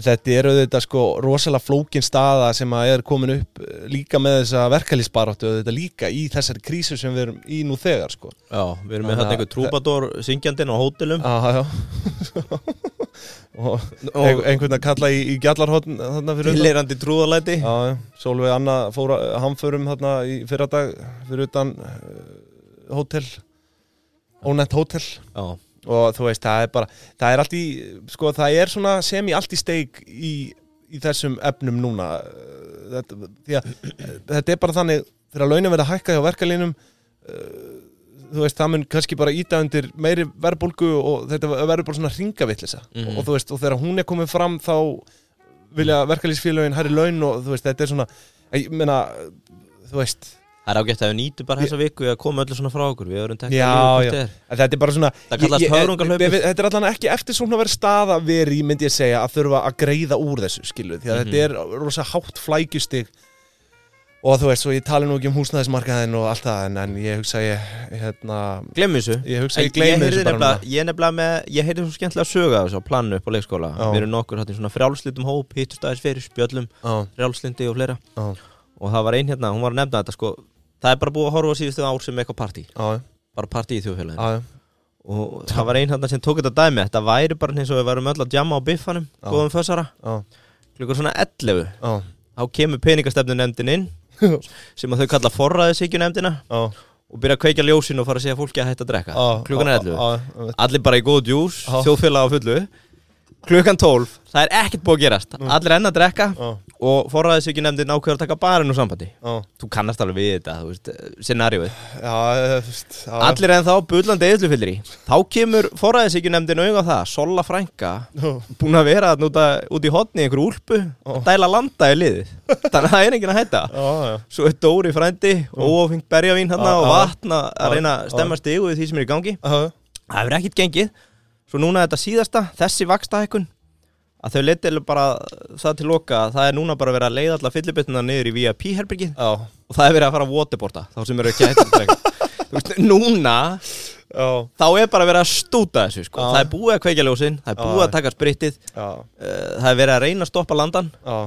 S2: þetta eru þetta sko rosalega flókin staða sem að er komin upp uh, líka með þessa verkalýsbaróttu og þetta líka í þessari krísu sem við erum í nú þegar sko.
S1: Já, við erum með
S2: Þannig
S1: þarna
S2: að-
S1: einhver trúbador syngjandinn á hótelum
S2: Já, já [laughs] og ein-
S1: og
S2: einhvern að kalla í, í gjallarhóttn þarna fyrir utan.
S1: tilherandi trúðalæti
S2: Já, já, Sólveig Anna fór að eh, hamförum þarna í fyrra dag fyrir utan uh, hótel ónett hótel
S1: Já,
S2: og þú veist, það er bara það er allt í, sko, það er svona sem í allt í steik í, í þessum efnum núna Eh, þetta, því að eh, þetta er bara þannig þegar launin verða að hækka hjá verkalínum þú veist, það mun kannski bara íta undir meiri verðbólgu og þetta verður bara svona ringavillisa
S1: Mhm.
S2: og þú veist, og þegar hún er komin fram þá vilja verkalýsfélögin hærri laun og þú veist, þetta er svona ég meina, þú veist
S1: það er ágætt að við nýtum bara þessa viku við að koma öllu svona frá okkur, við erum teknað
S2: Já,
S1: lífið
S2: já.
S1: hvort er.
S2: En Þetta er bara svona
S1: Það kallast
S2: ég- ég-
S1: höfrungahlaupið.
S2: ég- við- Þetta er allan ekki eftir svona verið staða veri myndi ég segja að þurfa að greiða úr þessu skilu því að
S1: Mhm.
S2: þetta er rosa hátt flækjustig og þú veist, og ég tali nú ekki um húsnæðismarkaðin og allt það en, en ég hugsa ég hérna,
S1: Gleymum þessu
S2: ég hugsa
S1: En
S2: ég gleymi
S1: heyrði
S2: þessu bara
S1: nefnilega,
S2: núna
S1: ég nefnilega með, ég heyrði svo skemmtilega sögu af þessu á plannu upp á leikskóla
S2: Já.
S1: Við erum nokkur hérna í svona frjálslitum hóp, hittust aðeins fyrir, spjöllum,
S2: Já,
S1: frjálslindi og fleira
S2: já,
S1: Og það var ein hérna, hún var að nefna þetta sko Það er bara búið að horfa á síðustu ár sem eitthvað partí
S2: já,
S1: Bara partí í þjóðfélaginu
S2: já,
S1: Og það var ein hérna sem tók þetta dæmi Þetta væri bara eins og við varum öll að jamma á biffanum
S2: Já.
S1: Góðum fössara,
S2: já,
S1: klukkur svona 11
S2: já,
S1: Þá kemur peningastefnu nefndin inn Sem að þau kalla forræðisíkju nefndina
S2: já,
S1: Og byrja að kveikja ljósin og fara að segja fólki að hætta að drekka
S2: já
S1: Klukkan er 11
S2: Já, já,
S1: Allir bara í góð djús,
S2: Já.
S1: þjóðfélag á fullu Klukkan 12, það er ekkert búið að gerast Allir enn að drekka
S2: já,
S1: og forræðis ekki nefndin ákveður að taka barinn úr sambandi
S2: Já,
S1: þú kannast alveg við þetta, þú veist, scenarióið
S2: já, þú veist, já.
S1: allir en þá bullandi eðlufyllri þá kemur forræðis ekki nefndin auðvitað það Sola Franka,
S2: Já.
S1: búin að vera þarna út, að- út í hotni í einhver úlpu að dæla landa í liðið, þannig að það er enginn að hætta
S2: Já, já.
S1: svo er Dóri frændi, óáfengt berjavín hérna
S2: Já,
S1: og
S2: já.
S1: vatn að- að
S2: Já,
S1: reyna að stemma stigu við því sem er í gangi
S2: Já, já.
S1: það hefur ekkert gengið svo núna þetta síðasta, þessi vakstahækun að þau leti bara það til loka að það er núna bara verið að leiða alla fyllibituna niður í VIP-herbyggið
S2: Já,
S1: og það er verið að fara að waterboarda þá sem eru ekki hættur núna
S2: já,
S1: þá er bara verið að stúta þessu sko.
S2: Já.
S1: það er búið að kveikja ljósin, það er búið
S2: Já.
S1: að taka spritið
S2: já,
S1: uh, það er verið að reyna að stoppa landan
S2: já.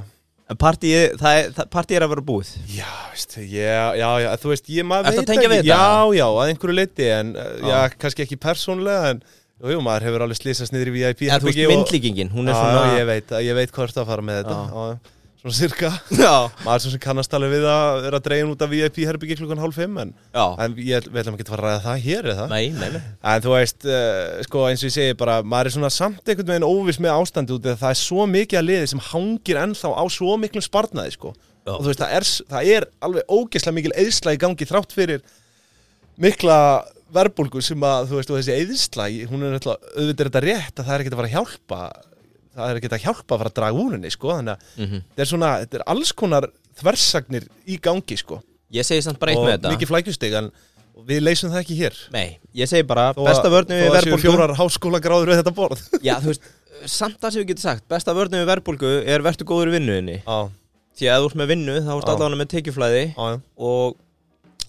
S1: en partíið, það er, það, partíið er að vera búið
S2: Já, veist, já, já, já, þú veist, ég maður
S1: Ertu
S2: veit
S1: að tengja
S2: ekki,
S1: við þetta? Ah.
S2: já, já, að einhverju leiti, en, eh, já,
S1: Já.
S2: já kannski ekki persónlega, en, jú, jú, maður hefur alveg slýsast niður í VIP
S1: en þú veist myndlíkingin, hún er
S2: Já, Ah, ég
S1: svona Ah.
S2: veit, ég veit hvort að fara með þetta, já, svona cirka,
S1: [laughs] já,
S2: maður svo sem kannast alveg við að vera dregin út af VIP-herbyggi klukkan hálf fimm, en,
S1: já.
S2: en ég, við ætlum ekki að fara að ræða það hér, eða?
S1: Nei, nei, nei.
S2: En þú veist, uh, sko eins og ég segi bara, maður er svona samt einhvern veginn óviss með ástandi út af því að það er svo mikið að liði sem hangir ennþá á svo miklu sparnaði, sko.
S1: Já.
S2: Og þú veist, það er, s- það er alveg ógeðslega mikil eðsla í gangi þrátt fyrir mikla verbulgu sem að, þú veist, og þessi eðsla, í- hún er alltaf, auðvitað er þetta rétt að það er ekkert að fara að hjálpa, það er ekkert að hjálpa að fara að draga úr henni, sko. Þannig að
S1: Mhm.
S2: þetta er svona, þetta er alls konar þversagnir í gangi, sko.
S1: ég segi samt bara eitt
S2: og
S1: með þetta
S2: mikið flækjustig, en við leysum það ekki hér.
S1: Nei, ég segi bara,
S2: Þó að-
S1: besta vörnum
S2: þó
S1: við
S2: að séu
S1: verðbólgu
S2: fjórar háskóla gráður við þetta [laughs] borð
S1: Já, þú veist, samt það sem við getum sagt Besta vörnum við verðbólgu er verðtu góður í vinnuðinni
S2: á,
S1: Því að ef þú ert með vinnu, þá ert
S2: Já.
S1: allavega með tekjuflæði
S2: á, já.
S1: Og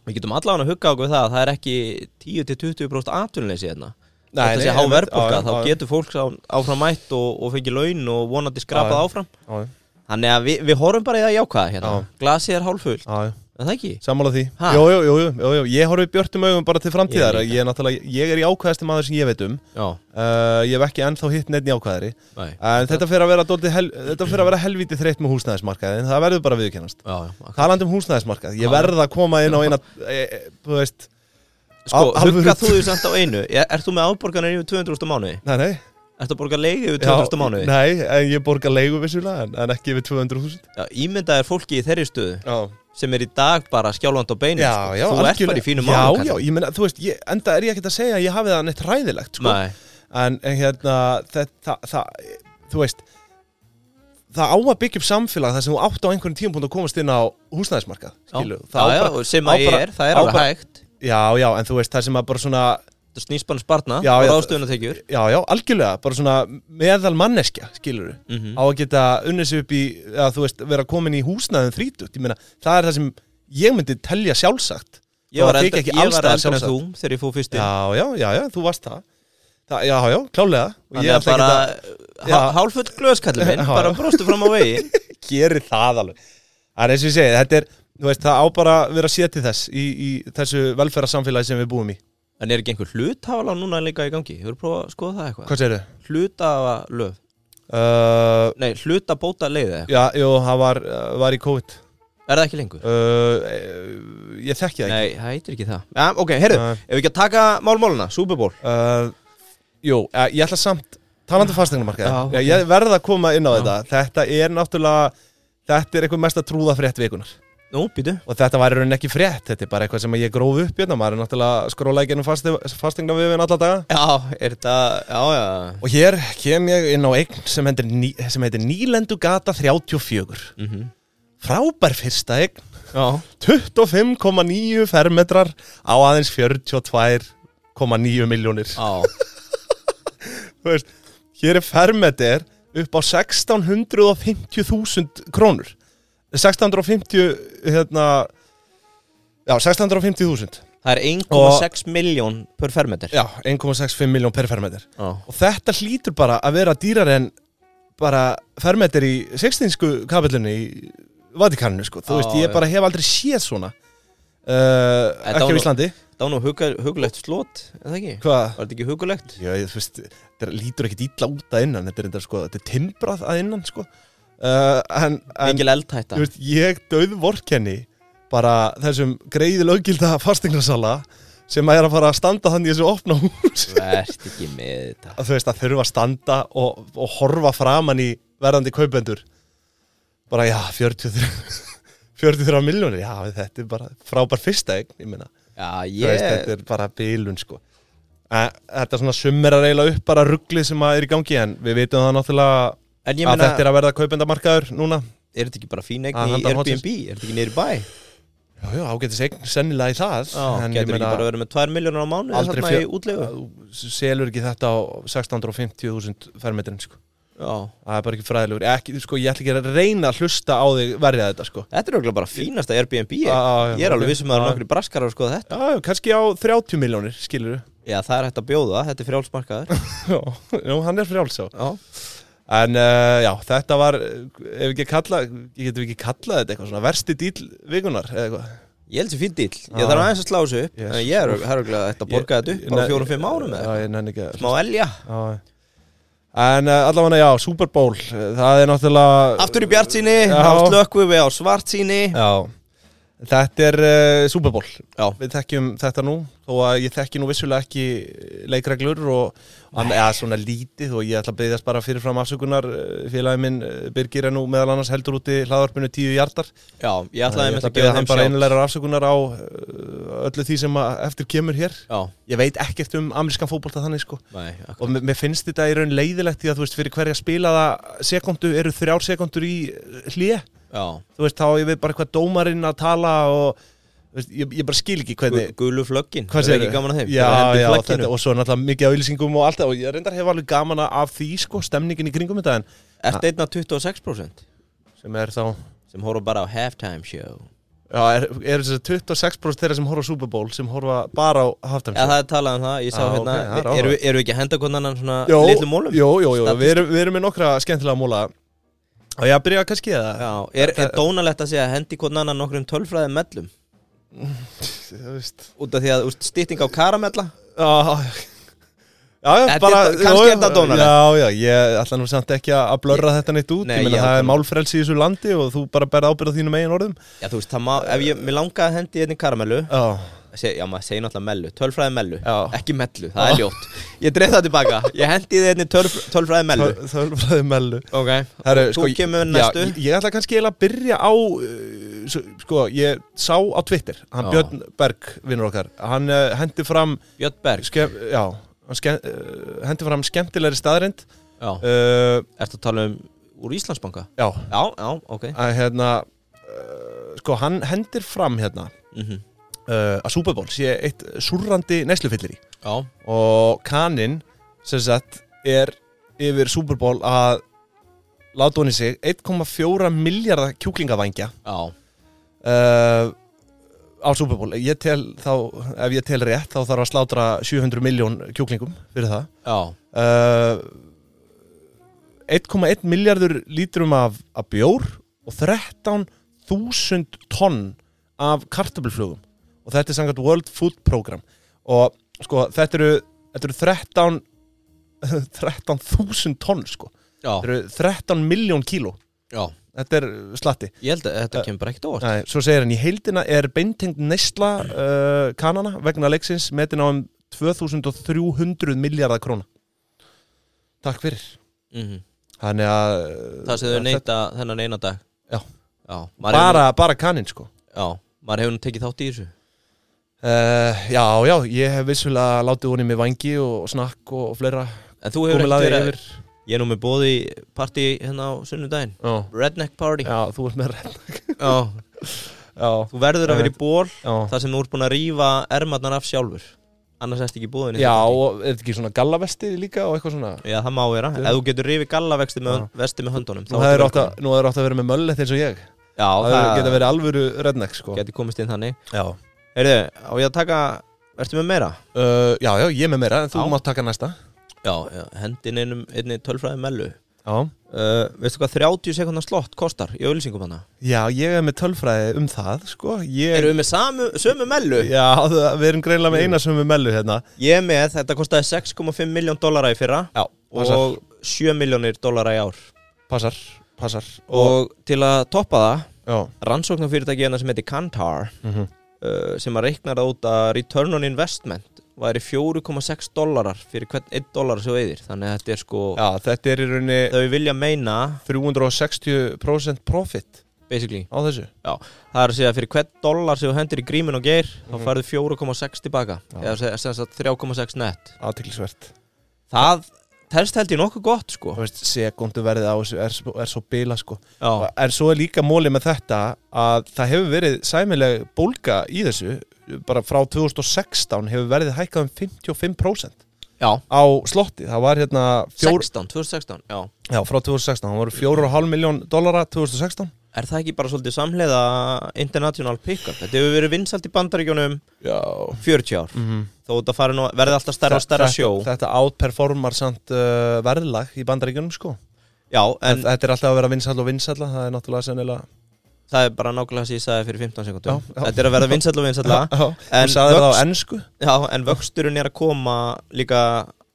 S1: við getum allavega að hugga okkur það að Það er ekki 10-20% atvinnleysi hérna
S2: Nei,
S1: Þetta
S2: nei,
S1: sé há
S2: einmitt,
S1: verðbólga,
S2: já, já,
S1: þá
S2: já.
S1: getur fólk sá- áfram mætt og, og fengið laun og vonandi
S2: Já,
S1: skrapað
S2: já.
S1: áfram
S2: Á, já.
S1: Þannig að við, við horfum bara í það jákvæða hérna
S2: Já.
S1: Glasið er hálfullt,
S2: Á, já.
S1: er það ekki?
S2: sammála því
S1: Ha?
S2: jú, jú, jú, jú, jú, jú. ég horfi björtum augum bara til framtíðar
S1: Ég
S2: ég, er náttúrulega, ég er í ákvæðasti maður sem ég veit um
S1: Já,
S2: uh, ég hef ekki ennþá hitt neitt í ákvæðari
S1: nei
S2: en þetta fyrir að vera, dálítið hel, þetta fyrir að vera helvítið þreytt með húsnæðismarkaðin, það verður bara viðkennast
S1: Já, já,
S2: talandi um húsnæðismarkað, ég
S1: Já.
S2: verð að koma inn á eina e, e, þú veist,
S1: Sko,
S2: Al- alvöru-
S1: hugga þú því samt á einu Er, er þú með afborganir yfir 200.000 á mánuði?
S2: nei, nei
S1: Ertu að borga leigu yfir
S2: Já,
S1: 200.000 á mánuði?
S2: nei, en ég borga leigu vissulega, en, en ekki yfir 200.000
S1: Já, ímynda er fólki í þeirri stöðu
S2: já,
S1: sem er í dag bara skjálfand á beinu
S2: já, já,
S1: sko. Þú ert bara í fínum
S2: málum
S1: málum
S2: Já, já, ég meina, þú veist, ég, enda er ég ekkert að segja að ég hafi það neitt ræðilegt, sko
S1: Nei,
S2: en, en hérna, þetta, það, það, þú veist það á að byggja upp samfélag þar sem þú átt á einhverjum tímapunkt að komast inn á húsnæðismarkað,
S1: já,
S2: skilu
S1: já, já, og sem að ég er, það er alveg hægt
S2: Já, já, en þú veist, það sem að bara svona
S1: Það snýst bara um sparna
S2: Já,
S1: og
S2: já,
S1: ráðstöðunatekjur
S2: Já, já, algjörlega, bara svona meðal manneskja, skilur
S1: Mhm.
S2: á að geta unnið sig upp í að þú veist, vera komin í húsnæðum þrítut ég meina, það er það sem ég myndi telja sjálfsagt
S1: Ég
S2: Þó að
S1: var
S2: það þyki
S1: eldri, ég
S2: ekki alls
S1: var
S2: staðar
S1: eldri en
S2: sjálfsagt.
S1: þú þegar ég fóð fyrst inn
S2: Já, já, já, já, þú varst það Þa, Já, já, klálega Og ég
S1: Þannig að
S2: ætla
S1: bara
S2: ekki
S1: há-
S2: Já.
S1: hálffull glöðskallið minn
S2: [laughs] Já, já.
S1: bara brostu fram á vegi
S2: að gera það alveg Það er eins og ég segi, þetta er, þú veist, það á bara að vera séð til þess í, í þessu velferðarsamfélagi sem við búum í
S1: En er ekki einhver hlutafalán núna líka í gangi? Hefur prófað að skoða það eitthvað?
S2: Hvað segirðu?
S1: Hlutafalöf
S2: Uh,
S1: Nei, hlutabóta leiði
S2: já, jú, það var, uh, var í COVID
S1: Er það ekki lengur?
S2: uh, Ég þekki það ekki
S1: Nei, það heitir ekki það Já, ok, heyrðu,
S2: Nei.
S1: ef við ekki að taka málmáluna, Superból
S2: uh, Jú, eh, ég ætla samt talandi fastegnumarkaði
S1: Já, ok.
S2: okay. Ég verð að koma inn á þetta Þetta er náttúrulega, þetta er eitthvað mesta trúðafrétt vikunar
S1: Nú, býtu
S2: og þetta var í rauninni ekki frétt, þetta er bara eitthvað sem ég gróf upp hérna, maður er náttúrulega skróla í gennum fastegna við við alla daga
S1: Já, er þetta, já, já
S2: og hér kem ég inn á eign sem heitir, ný, sem heitir Nýlendugata 34
S1: mm
S2: frábær fyrsta eign
S1: Já,
S2: 25,9 fermetrar á aðeins 42,9 miljónir
S1: já,
S2: Þú veist, hér er fermetrar upp á 1650.000 krónur 1650 hérna já, 1650.000
S1: það er 1,6 miljón per fermeter
S2: Já, 1,65 miljón per fermeter
S1: Já,
S2: Og þetta hlýtur bara að vera dýrar en bara fermeter í sextinsku kapillunni í Vatikaninu sko Þú
S1: Já,
S2: veist, ég
S1: já.
S2: bara hef aldrei séð svona uh,
S1: Þetta
S2: Ekki
S1: var
S2: á
S1: nú-
S2: Íslandi
S1: það var nú huga- hugulegt slot, er það ekki?
S2: Hvað?
S1: Var þetta ekki hugulegt?
S2: Já, ég, þú veist, þetta er- lítur ekkit illa út að innan Þetta er, þetta, sko, þetta er timbrað að innan sko uh, En, en
S1: Engil eldhætta
S2: ég, veist, ég döð vorkenni bara þessum greiði löggilda fastegnarsala sem er að fara að standa þannig í þessu opna hús
S1: Verst ekki með þetta
S2: að þú veist að þurfa að standa og, og horfa framan í verðandi kaupendur bara já, 43 [laughs] 43 miljónir, já, þetta er bara frábær fyrsta eign, ég meina
S1: Já,
S2: Þú veist,
S1: ég,
S2: þetta er bara bilun sko Eh, Þetta svona summerar eiginlega upp bara rugglið sem að er í gangi en við vitum það náttúrulega
S1: en ég
S2: að
S1: meina,
S2: þetta
S1: er,
S2: er að verða kaupendamarkaður núna
S1: þetta ekki bara fín
S2: Að
S1: eign í
S2: handan
S1: Airbnb?
S2: hotsins.
S1: Er þetta ekki niður í bæ?
S2: Já, já, ágætis eign sennilega í það
S1: Já,
S2: en ég
S1: getur ekki
S2: meina
S1: bara verið með 2 miljónar á mánu
S2: Aldrei
S1: þarna
S2: fjö-
S1: í útlegu?
S2: þú selur ekki þetta á 650.000 fermetrin sko
S1: Já,
S2: Það er bara ekki fræðilegur ekki, sko, Ég ætla ekki að reyna að hlusta á þig verja þetta sko
S1: þetta er auðvitað bara fínasta Airbnb
S2: Já, já,
S1: Ég er
S2: ok.
S1: alveg vissum að það
S2: Já.
S1: eru nokkri braskarar að skoða þetta
S2: Já, já, kannski á 30 miljónir, skilur
S1: Já, það er hægt að bjóða, þetta er frjálsmarkaður
S2: Já, nú, hann er frjáls á
S1: Já,
S2: En uh, já, þetta var eh, ef ekki kalla, ég getum ekki kallað þetta eitthvað svona versti dýl vikunar eða eitthvað
S1: Ég held sem fín dýll, ég
S2: Já.
S1: þarf aðeins að slá þessu upp
S2: Yes.
S1: En ég er örgulega þetta að borga þetta upp bara
S2: Ég-
S1: fjórum, fimm árum eða
S2: Já, ég nenni ekki að-
S1: Má elja
S2: Já. En uh, allavega, já, Super Bowl eh, það er náttúrulega
S1: Aftur í bjart síni,
S2: Já.
S1: áslökku við á svart síni
S2: Já, þetta er uh, Super Bowl
S1: Já,
S2: Við þekkjum þetta nú þó að ég þekki nú vissulega ekki eh, leikreglur og hann er svona lítið og ég ætla að beðast bara fyrirfram afsökunar eh, félagi minn eh, Birgir er nú meðal annars heldur úti hlaðvarpinu tíu hjartar
S1: já, ég ætlaði
S2: Ég
S1: einmitt
S2: ætla að
S1: að gefa
S2: beða þeim
S1: þeim
S2: bara
S1: sjálf
S2: einlegar afsökunar á uh, öllu því sem að eftir kemur hér
S1: Já,
S2: Ég veit ekkert um amerískan fótbolta þannig sko
S1: nei, akkur
S2: Og mér mér finnst þetta í raun leiðilegt því að þú veist fyrir hverja spilaða sekundu eru þrjár sekundur í hlið
S1: Já,
S2: Þú veist þá á ég veit bara hvað dómarinn að tala og þú veist, ég, ég bara skil ekki
S1: Gu-
S2: hvernig
S1: gulu flöggin,
S2: Hvað
S1: það er
S2: segirðu?
S1: ekki gaman að þeim
S2: Já,
S1: Bara hendi
S2: já,
S1: flagginu.
S2: þetta, og svo náttúrulega mikið af auðlýsingum og allt það og ég reyndar hef alveg gaman af því sko, stemningin í kringum þetta en
S1: Ertu einn af 26%
S2: sem er þá
S1: sem horfa bara á halftime show
S2: Já, er, er þess að 26% þeirra sem horfa á Super Bowl sem horfa bara á halftime
S1: Já, það er talað um það, ég sá
S2: Já,
S1: hérna
S2: ok, það er
S1: okay, Eru eru við ekki að henda konan svona
S2: Jó,
S1: litlum mólum?
S2: Jó, jó, jó,
S1: Statistik.
S2: við erum, við erum með nokkra skemmtilega móla og ég að byrja kannski eða
S1: Já, er, er dónalegt að segja hendi konan nokkrum tölfræði mellum?
S2: Þú veist.
S1: Út af því að úst, stýtting á karamella
S2: Já, já, já
S1: Þetta er
S2: bara
S1: da- kannski
S2: já,
S1: er þetta
S2: já,
S1: dónalegt.
S2: Já, já, ég ætla nú samt ekki að blörra þetta neitt út
S1: Nei,
S2: Ég
S1: ég
S2: meina það
S1: ákveð-
S2: er málfrelsi í þessu landi og þú bara berð ábyrð á þínum eigin orðum
S1: Já, þú veist, það má, ef ég, mér langaði að hendi hérna í karamellu
S2: Já,
S1: seg, Já, maður segir náttúrulega mellu, tölfræði mellu
S2: Já.
S1: Ekki mellu, það er ljótt Ég dreif það tilbaka, ég hendi þið hérna í tölf, tölfræði mellu
S2: það það er bara mellu
S1: Ok,
S2: Herru,
S1: þú kemur næstu
S2: já, ég, ég ætla kannski eiginlega að byrja á uh, svo, sko, ég sá á Twitter hann
S1: Já.
S2: Björn Berg, vinnur okkar hann uh, hendi fram
S1: Björn Berg,
S2: skemm, já, hann skemm, uh, hendi fram skemmtilegri staðrind
S1: já,
S2: uh,
S1: ertu að tala um úr Íslandsbanka?
S2: já,
S1: Já, já, ok
S2: að hérna uh, sko, hann hendir fram hérna
S1: mm
S2: uh, að Super Bowl sé eitt súrrandi neyslufyllir í
S1: Já,
S2: og kaninn sem sagt er yfir Super Bowl að láta hún í sig 1,4 miljardar kjúklingavangja
S1: já,
S2: uh, á Super Bowl ég tel þá, ef ég tel rétt þá þarf að slátra 700 miljón kjúklingum fyrir það
S1: já,
S2: uh, 1,1 miljardur lítrum af, af bjór og 13.000 tonn af kartablflugum og þetta er sangat World Food Program og sko þetta eru, þetta eru 13 [laughs] 13.000 tonn sko
S1: já,
S2: þetta eru 13 miljón kíló
S1: já
S2: þetta er slatti
S1: Ég held að þetta kemur bara ekkert á óvart
S2: Nei, svo segir hann í heildina er beintengt neysla uh, kanana vegna leiksins metin á um 2300 miljardar króna Takk fyrir
S1: Mhm.
S2: Þannig að
S1: Það sem þau neyta þennan eina dag
S2: Já.
S1: Já, maður hefur-
S2: bara, bara kanin sko
S1: Já, maður hefur nú tekið þátt í þessu
S2: uh, Já, já, ég hef vissulega látið honum í vangi og snakk og, og fleira
S1: En þú hefur
S2: komið
S1: ekkert
S2: laðið
S1: verið
S2: yfir
S1: Ég er nú með bóði partí hérna á sunnudaginn
S2: já.
S1: Redneck party
S2: já, þú ert með reynd
S1: Já.
S2: Já,
S1: Þú verður að vera í ból
S2: já
S1: þar sem þú ert búin að rífa ermarnar af sjálfur Annars erst ekki í bóðinni
S2: Já, og er þetta ekki svona gallavesti líka og eitthvað svona
S1: Já, það má vera
S2: Já.
S1: Ef þú getur rífið gallavexti með,
S2: Já.
S1: vesti með höndunum
S2: Nú hefur átt að, nú hefðir átt að vera með möllet eins og ég
S1: Já,
S2: Það
S1: það
S2: hefur- geta verið alvöru redneck sko
S1: geti komist inn þannig
S2: Já
S1: Heyrðu, á ég að taka Ertu með meira?
S2: Uh, já, já, ég er með meira en þú
S1: Já.
S2: mátt taka næsta
S1: Já, já hendin einum einni tölfræði mellu
S2: Já,
S1: uh, Veistu hvað 30 sekundar slott kostar í auðlýsingum hana?
S2: ég er með tölfræði um það, sko ég...
S1: Erum við með samu, sömu mellu?
S2: Já, það- við erum greinlega með eina sem við mellu hérna
S1: Ég er með, þetta kostaði 6,5 miljón dólara í fyrra
S2: Já, passar,
S1: og 7 miljónir dólara í ár
S2: passar, passar
S1: og, til að toppa það
S2: Já,
S1: rannsóknarfyrirtæki hérna sem heitir Kantar
S2: mhm
S1: uh, sem að reiknar það út að return on investment væri 4,6 dollarar fyrir hvern 1 dollar sem þú eyðir þannig að þetta er sko
S2: Já, þetta er í rauninni
S1: þau vilja meina
S2: 360% profit
S1: basically
S2: á þessu
S1: það er að segja fyrir hvern dollar sem þú hendur í grímin og geir
S2: Mhm.
S1: þá færðu 4,6 tilbaka
S2: Já.
S1: eða segja- sem sagt 3,6 net
S2: Aðtilsvert
S1: það telst held ég nokkuð gott sko
S2: Þú veist, sekunduverðið á þessu er, svo- er svo bila sko
S1: já,
S2: En svo er líka móli með þetta að það hefur verið sæmileg bólga í þessu bara frá 2016 hefur verðið hækkað um 55%
S1: já.
S2: á slotti, það var hérna fjór,
S1: 16, 2016 já.
S2: já, frá 2016, það voru 4,5 miljón dollara 2016
S1: er það ekki bara svolítið samhliða international pickup þetta hefur verið vinsalt í bandaríkjónum
S2: Já
S1: 40 ár
S2: mm
S1: þó þetta fari nú, verði alltaf stærra og stærra sjó
S2: Þetta, þetta outperformar samt uh, verðlag í bandaríkjunum sko
S1: já, en
S2: en, Þetta er alltaf að vera vinsall og vinsalla það er náttúrulega sennilega
S1: það er bara nákvæmlega sem ég sagði fyrir 15 sekundum
S2: Já, já.
S1: þetta er að verða vinsall og vinsall
S2: Já, já.
S1: en
S2: Þú sagði það á
S1: vöxt-
S2: ennsku
S1: já, en vöxturinn er að koma líka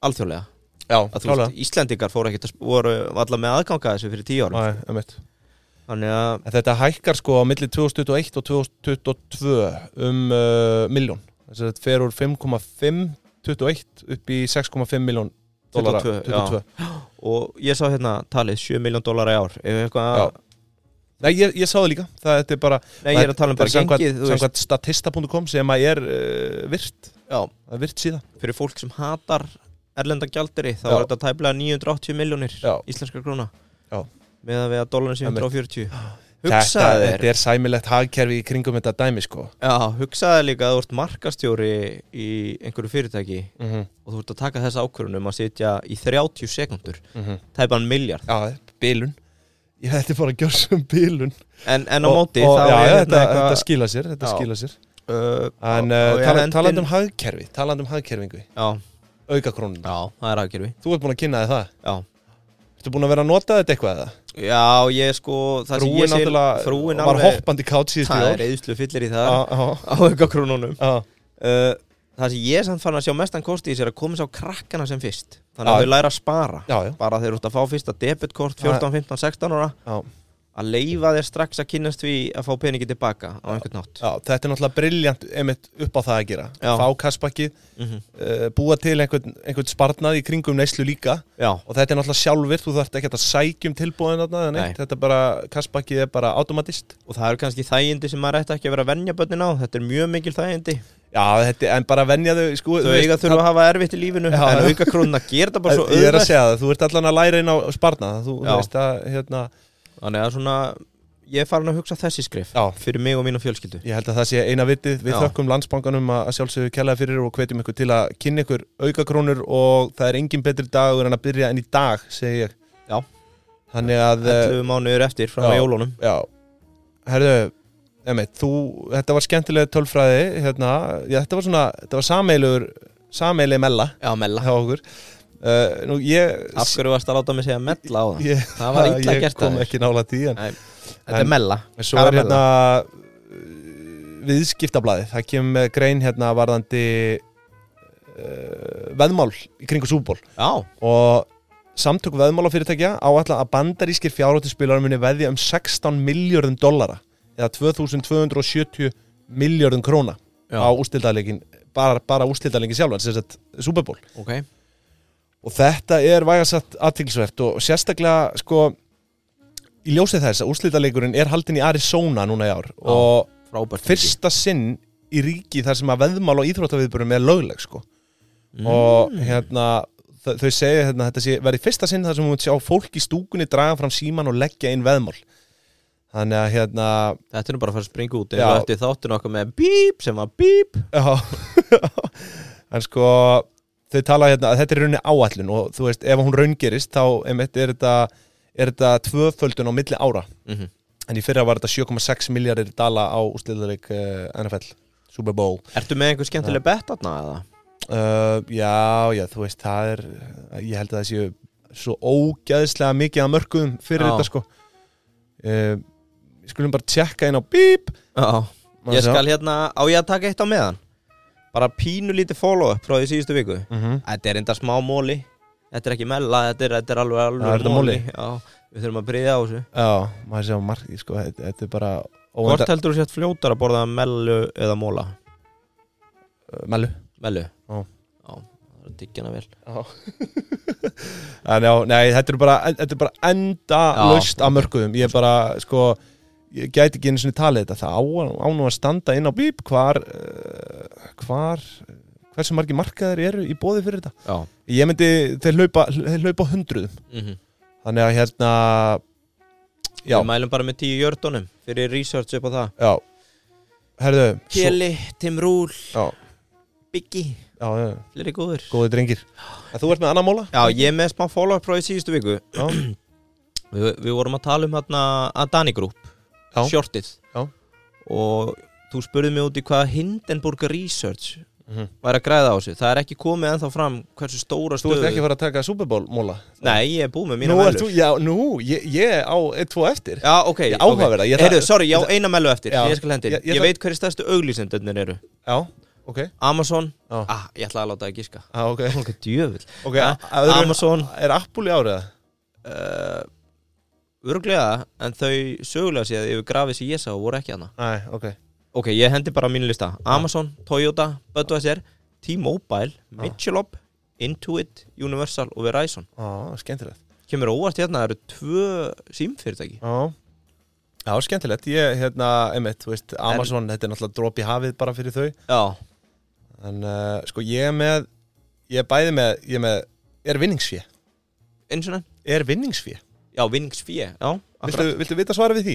S1: alþjóðlega
S2: Já,
S1: að þú veist, Íslendingar fóru ekkert að sp- voru allar með aðganga þessu fyrir 10 árum
S2: klálega
S1: þannig að,
S2: En þetta hækkar sko á milli 2021 og 2022 um uh, miljón. Þess að þetta fer úr 5,521 upp í 6,5 miljón dollara.
S1: 22, og ég sá hérna talið 7 miljón dólar í ár ef eitthvað,
S2: Já. Nei, ég, ég sá það líka. Það þetta er bara,
S1: nei ég er að tala um
S2: þetta
S1: bara gengið, þú veist,
S2: samkvæmt statista.com sem að er uh, virt,
S1: já,
S2: það er virt síðan.
S1: fyrir fólk sem hatar erlenda gjaldiri, þá
S2: Já.
S1: er þetta tæplega 980 miljónir
S2: Já.
S1: íslenskar króna
S2: Já.
S1: með að við að dólarinn
S2: Einmitt.
S1: 740
S2: Þetta,
S1: hugsaði þér
S2: þetta er sæmilegt hagkerfi í kringum þetta dæmi sko.
S1: Já, hugsaði líka að þú ert markastjóri í einhverju fyrirtæki
S2: Mm -hmm.
S1: og þú ert að taka þessa ákvörunum að sitja í 30 sekundur, tæpan miljard
S2: Já, þetta er bilun. Ég þetta er bara að gjör sem bilun.
S1: en, en á
S2: Og-
S1: móti
S2: og-
S1: þá
S2: já,
S1: er hérna
S2: þetta,
S1: eitthvað-
S2: þetta skila sér, þetta
S1: Já.
S2: skila sér.
S1: uh,
S2: En
S1: á- á-
S2: uh,
S1: á-
S2: tala,
S1: endin-
S2: talandi um hagkerfi, talandi um hagkerfingu,
S1: já,
S2: auka krónuna.
S1: já, það er aðgerfi
S2: Þú ert búin að kynna þið það.
S1: já.
S2: Ertu búin að vera að nota þetta eitthvað eða?
S1: já, ég sko það sem
S2: Frúin
S1: ég sé
S2: náttúrulega
S1: frúin
S2: var
S1: alveg
S2: hoppandi kátt síðust í
S1: það
S2: ár.
S1: er eðslu fyllir í
S2: Já,
S1: það
S2: já,
S1: á auka krónunum
S2: já.
S1: uh, það sem ég samt fann að sjá mestan kosti í sér að koma sá krakkana sem fyrst þannig
S2: Já.
S1: að þau læra að spara
S2: Já, já.
S1: bara þeir eru út að fá fyrsta debitkort 14, 15, 16 ára
S2: Já.
S1: að leifa þér strax að kynnast því að fá peningi tilbaka á einhvern nátt
S2: Já, þetta er náttúrulega briljant einmitt upp á það að gera.
S1: Já.
S2: Fá kassbakkið,
S1: mm -hmm.
S2: uh, búa til einhvern, einhvern sparnað í kringum neyslu líka
S1: Já,
S2: og þetta er náttúrulega sjálfur, þú þarft ekki að sækjum tilbúðin þarna eða neitt,
S1: Nei.
S2: þetta er bara, kassbakkið er bara automatist.
S1: og það eru kannski þægindi sem maður ætti ekki að vera að venja börnin á Þetta er mjög mikil þægindi
S2: Já, þetta er en bara venja þau, sko,
S1: Þau eiga þurfa að hafa erfitt í lífinu
S2: Já.
S1: En auka krónuna ger það bara svo
S2: [laughs] Ég er að
S1: auðvelt
S2: segja það, þú ert allan að læra inn á sparnað, þú, þú
S1: Já.
S2: veist að, hérna,
S1: Þannig að svona, ég er farin að hugsa þessi skrif
S2: já,
S1: Fyrir mig og mínu fjölskyldu
S2: Ég held að það sé eina vitið. Við
S1: Já.
S2: þökkum landsbankanum að að sjálfsögðu kellaði fyrir og hvetjum ykkur til að kynna ykkur aukakrónur og það er engin betri dagur en að byrja en í dag, segi ég.
S1: Já.
S2: Þannig að, eh,
S1: 11 mánuður eftir frá
S2: Já.
S1: jólunum
S2: já, herðu, emið, þú, þetta var skemmtilega tölfræði, hérna, já, þetta var svona, þetta var sameilugur, sameilig mella
S1: Já, mella
S2: hjá okkur. Uh, nú, ég,
S1: Af hverju varst að láta mig segja mella á það?
S2: ég,
S1: Það
S2: [laughs]
S1: var illa
S2: ég
S1: gert
S2: kom
S1: af þér.
S2: ekki nála því, en
S1: Þetta er mella
S2: En svo er
S1: Karamella.
S2: hérna uh, viðskiptablaðið, það kemur með grein hérna varðandi uh, veðmál í kringu súból
S1: Já,
S2: og samtök veðmálafyrirtækja áætla að bandarískir fjárhóttispilarar muni veðja um 16 miljörðum dollara eða 2270 miljörðum króna
S1: Já.
S2: á ústildalegin bara, bara ústildalegin sjálfan, sem sagt súból
S1: ok
S2: og þetta er vægasatt aðtilsvert og sérstaklega sko í ljósið þess að úrslitaleikurinn er haldin í Arizona núna í ár og
S1: Frábært
S2: fyrsta sinn í ríki þar sem að veðmál og íþróttaviðburum er lögleg sko og hérna þ- þau segja hérna þetta sé, verði fyrsta sinn þar sem hún sjá fólk í stúkunni draga fram síman og leggja inn veðmál þannig að hérna [laughs]
S1: Þetta er nú bara að fara að springa út
S2: Já.
S1: eða eftir þáttin okkar með bíp sem var bíp
S2: já, en sko þau tala hérna að þetta er í rauninni áallun og þú veist ef hún raungerist þá einmitt, er þetta, er þetta tvöföldun á milli ára
S1: mm -hmm.
S2: En í fyrra var þetta 7,6 miljardir dala á úsliðarleik uh, NFL Super Bowl
S1: Ertu með einhver skemmtileg bett aðna eða?
S2: uh, Já, já, þú veist, það er Ég held að það séu svo ógæðislega mikið að mörgum fyrir
S1: Já.
S2: þetta sko uh, Ég skulum bara tjekka inn á bíp
S1: Já, ég skal hérna á ég að taka eitt á meðan Bara pínu lítið follow up frá því síðustu viku
S2: mm -hmm.
S1: Þetta er enda smá móli Þetta er ekki mella, þetta er, þetta er alveg
S2: Já, er
S1: alveg
S2: þetta móli?
S1: Já, við þurfum að breyða á þessu
S2: Já, maður séu margir sko, þetta, þetta er bara
S1: Hvort
S2: óvenda
S1: heldur þú sett fljótar að borða mellu eða móla?
S2: uh, Mellu
S1: Velu
S2: Já.
S1: Já, það er að diggja hana vel
S2: [laughs] En já, nei, þetta er bara, þetta er bara enda laust af mörkuðum Ég er bara, sko, ég gæti ekki einu sinni talið þetta Það á, á nú að standa inn á bíp hvar, uh, hvar, hversu margi markaðir eru í bóði fyrir þetta
S1: Já,
S2: Ég myndi, þeir hlaupa, þeir hlaupa á hundruðum
S1: mm
S2: Þannig að hérna, já,
S1: Við mælum bara með tíu jördunum Fyrir research upp á það
S2: já Herðu, svo,
S1: Kjeli, Tim Rúl,
S2: já,
S1: Biggi
S2: já, já,
S1: Fleiri góður
S2: góði drengir En þú ert með annan móla?
S1: Já, ég er með smá follow-up frá í síðustu viku
S2: Já.
S1: [clears throat] Við, við vorum að tala um hérna Adani Group,
S2: Já.
S1: shortið
S2: Já.
S1: Og þú spurði mig út í hvað Hindenburg Research
S2: Mhm.
S1: væri að græða á sig Það er ekki komið ennþá fram hversu stóra
S2: Þú
S1: stöðu
S2: ert ekki að fara að taka Super Bowl móla?
S1: Nei, ég er búið með mína
S2: Nú,
S1: melur
S2: ert þú, já, nú, ég, ég á eitt, tvo eftir
S1: Já, ok,
S2: Ég áhugaverða,
S1: okay.
S2: ég-
S1: Heyrðu, sorry, já, eina melu eftir
S2: Já.
S1: Ég skal hendi,
S2: Ég-
S1: ég,
S2: ég-
S1: ég, ég veit hverju stærstu auglýsendurnir eru
S2: Já, ok
S1: Amazon,
S2: Já.
S1: ah, ég ætlaði að láta það giska
S2: ah, Ok,
S1: Fólk er djöfull
S2: Ok,
S1: Ja,
S2: að öðru-
S1: Amazon.
S2: Er Apple í árið?
S1: uh, Örglega, en þau sögulega séð yfir grafið sem ég sá voru ekki hana
S2: Næ, ok
S1: Ok, ég hendi bara á mínu lista Amazon, Toyota, Budweiser, T-Mobile, Michelob, Intuit, Universal og Verizon
S2: Á, skemmtilegt
S1: Kemur óvart hérna, það eru tvö símfyrirtæki
S2: Á Já, skemmtilegt, ég, hérna, emitt, þú veist, Amazon, þetta er náttúrulega drop í hafið bara fyrir þau
S1: Já,
S2: En, uh, sko, ég er með, ég er bæði með, ég er með, er vinningsfé
S1: eins og nefn
S2: Er vinningsfé?
S1: Já, vinningsfíi, já
S2: Viltu,
S1: Viltu...
S2: viltu vita svara við því?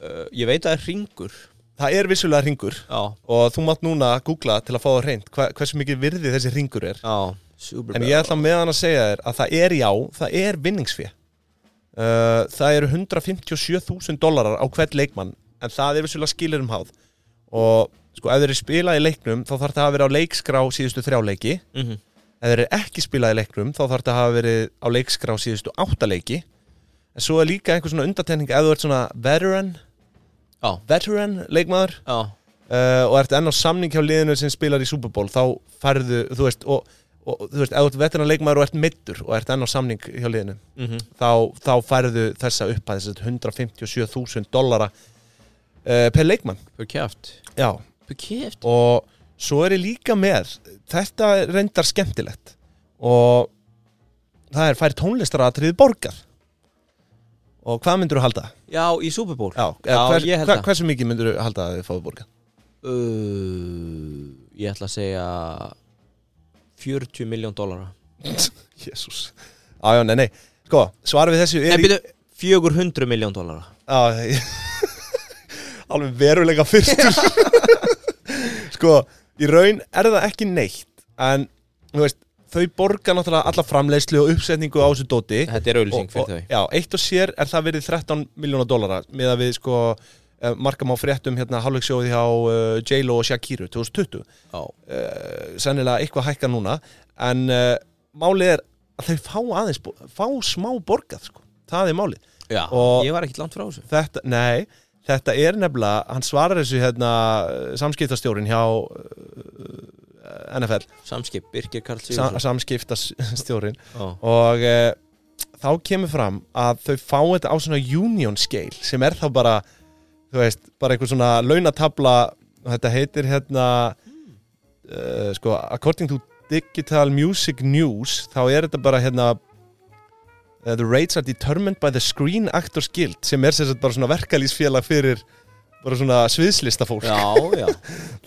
S1: uh, Ég veit að það er ringur
S2: Það er vissulega ringur
S1: Já,
S2: Og þú mátt núna googla til að fá það reynd hva, Hversu mikið virði þessi ringur er
S1: já, super
S2: En ég ætla meðan að segja þér að það er já, það er vinningsfé. Uh, það eru 157.000 dólarar á hvert leikmann, en það er vissulega skilir um háð. Og sko, ef þeir eru spilað í leiknum, þá þarf það að vera á leikskrá síðustu þrjá leiki.
S1: mm -hmm.
S2: Ef þeir eru ekki spilað í leiknum, þá þarf það að hafa verið á leikskrá síðustu átta leiki. En svo er líka einhver svona undatenning ef þú ert svona veteran,
S1: Já.
S2: veteran leikmaður
S1: Já,
S2: uh, og ert enn á samning hjá liðinu sem spilar í Super Bowl þá færðu, þú veist og, og þú veist, ef þú ert veturna leikmaður og ert middur og ert enn á samning hjá liðinu
S1: mm
S2: þá, þá færðu þessa upphæð þess að 157.000 dollara uh, per leikmann
S1: Per kæft
S2: Já.
S1: Per kæft
S2: og svo er ég líka með þetta er reyndar skemmtilegt og það er fær tónlistaratriði borgar og hvað myndur þú halda?
S1: Já, í Super Bowl
S2: Já,
S1: Já,
S2: eða hvers,
S1: ég held
S2: hver,
S1: það.
S2: hversu mikið myndur þú halda að þið fáið borgar?
S1: uh, Ég ætla að segja 40 miljón dólara
S2: Jésús Já, já, nei, nei, sko, svarið við þessu
S1: Nei,
S2: er
S1: byrju 400 miljón dólara
S2: Já, ég- [laughs] Alveg veruleika fyrstur [laughs] Sko, í raun er það ekki neitt En, þú veist, þau borga náttúrulega alla framleiðslu og uppsetningu á þessu dóti
S1: Þetta er auðlýsing
S2: Og- og-
S1: fyrir þau
S2: Já, eitt og sér er það verið 13 miljóna dólara með að við, sko, eh, markam á fréttum hérna hálfleiksjóði hjá uh, J-Lo og Shakiru 2020
S1: Já,
S2: uh, sennilega eitthvað hækka núna en uh, málið er að þau fá aðeins, bo- fá smá borgað sko. það er málið
S1: já
S2: Og-
S1: ég var ekkit langt frá þessu
S2: þetta, nei, þetta er nefnilega, hann svarar þessu hérna, samskiptastjórin hjá eh, uh, NFL
S1: Samskip, Birgir Karl
S2: sa,
S1: Sigursson
S2: samskiptastjórin
S1: Já,
S2: og uh, þá kemur fram að þau fá þetta á svona union scale sem er þá bara þú veist, bara einhver svona launatabla þetta heitir hérna uh, sko, according to digital music news þá er þetta bara hérna uh, the rates are determined by the Screen Actors Guild sem er sem sagt bara svona verkalýsfélag fyrir bara svona sviðslista fólk
S1: já, já.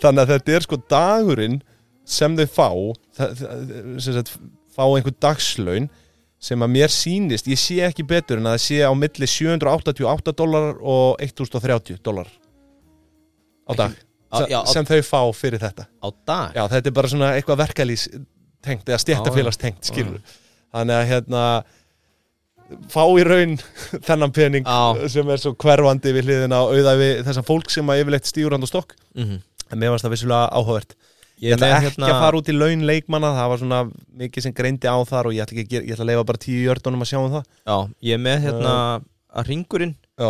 S2: þannig að þetta er sko dagurinn sem þau fá það, það, sem sagt, fá einhver dagslaun sem að mér sýnist, ég sé ekki betur en að það sé á milli 788 dólarar og 1030 dólarar á
S1: Ekki-
S2: dag
S1: Á- já, á-
S2: sem, sem þau fá fyrir þetta
S1: Á dag
S2: já, þetta er bara svona eitthvað verkalýs tengt eða stjættafélags tengt skilur þannig að hérna fá í raun [laughs] þennan pening
S1: Já.
S2: sem er svo hverfandi við hliðina og auða við þessan fólk sem að yfirleitt stígur hann og stokk
S1: mm
S2: en mér varst það vissulega áhugavert
S1: Ég
S2: ég
S1: er
S2: ætla
S1: með
S2: ekki
S1: hérna
S2: að fara út í laun leikmanna það var svona mikið sem greindi á þar og ég ætla, ekki, að gera- ég ætla að leifa bara tíu jördunum að sjá um það
S1: Já, ég er með hérna
S2: Uh.
S1: að ringurinn
S2: já,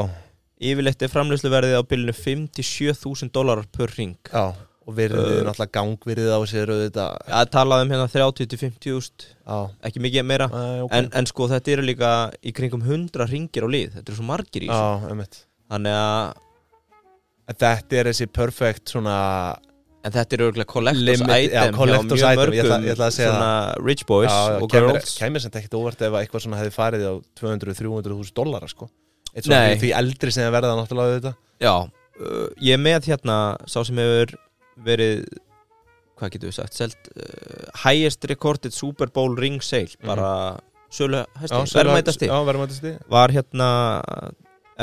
S1: Yfirleitt er framleysluverðið á bylunu 5-7.000 dólarar per ring
S2: já. og virðið,
S1: Uh.
S2: náttúrulega gangvirðið á sér og þetta
S1: Já, það talaði um hérna 30-50 úst
S2: já,
S1: Ekki mikið meira
S2: Æ, ok.
S1: en, en sko þetta eru líka í kringum 100 ringir á lið Þetta eru svo margir í þessu
S2: já, einmitt.
S1: Þannig að
S2: þetta er þessi perfect svona
S1: En þetta er örgulega collectors
S2: Limit- já,
S1: item
S2: collectors
S1: hjá mjög
S2: item,
S1: mörgum
S2: ég ætla- ég ætla að segja
S1: svona rich boys
S2: Já,
S1: og
S2: kæmir,
S1: girls
S2: kæmir sem ekkert óvart ef eitthvað svona hefði farið á 200-300 hús dollara sko
S1: Nei.
S2: Eitt svona því eldri sem það verða náttúrulega þetta
S1: Já, uh, ég er með hérna sá sem hefur verið hvað getur við sagt, selt uh, highest recorded Super Bowl ring sale bara sölu hæsti, verðmætasti
S2: Mhm. Já, verðmætasti
S1: var hérna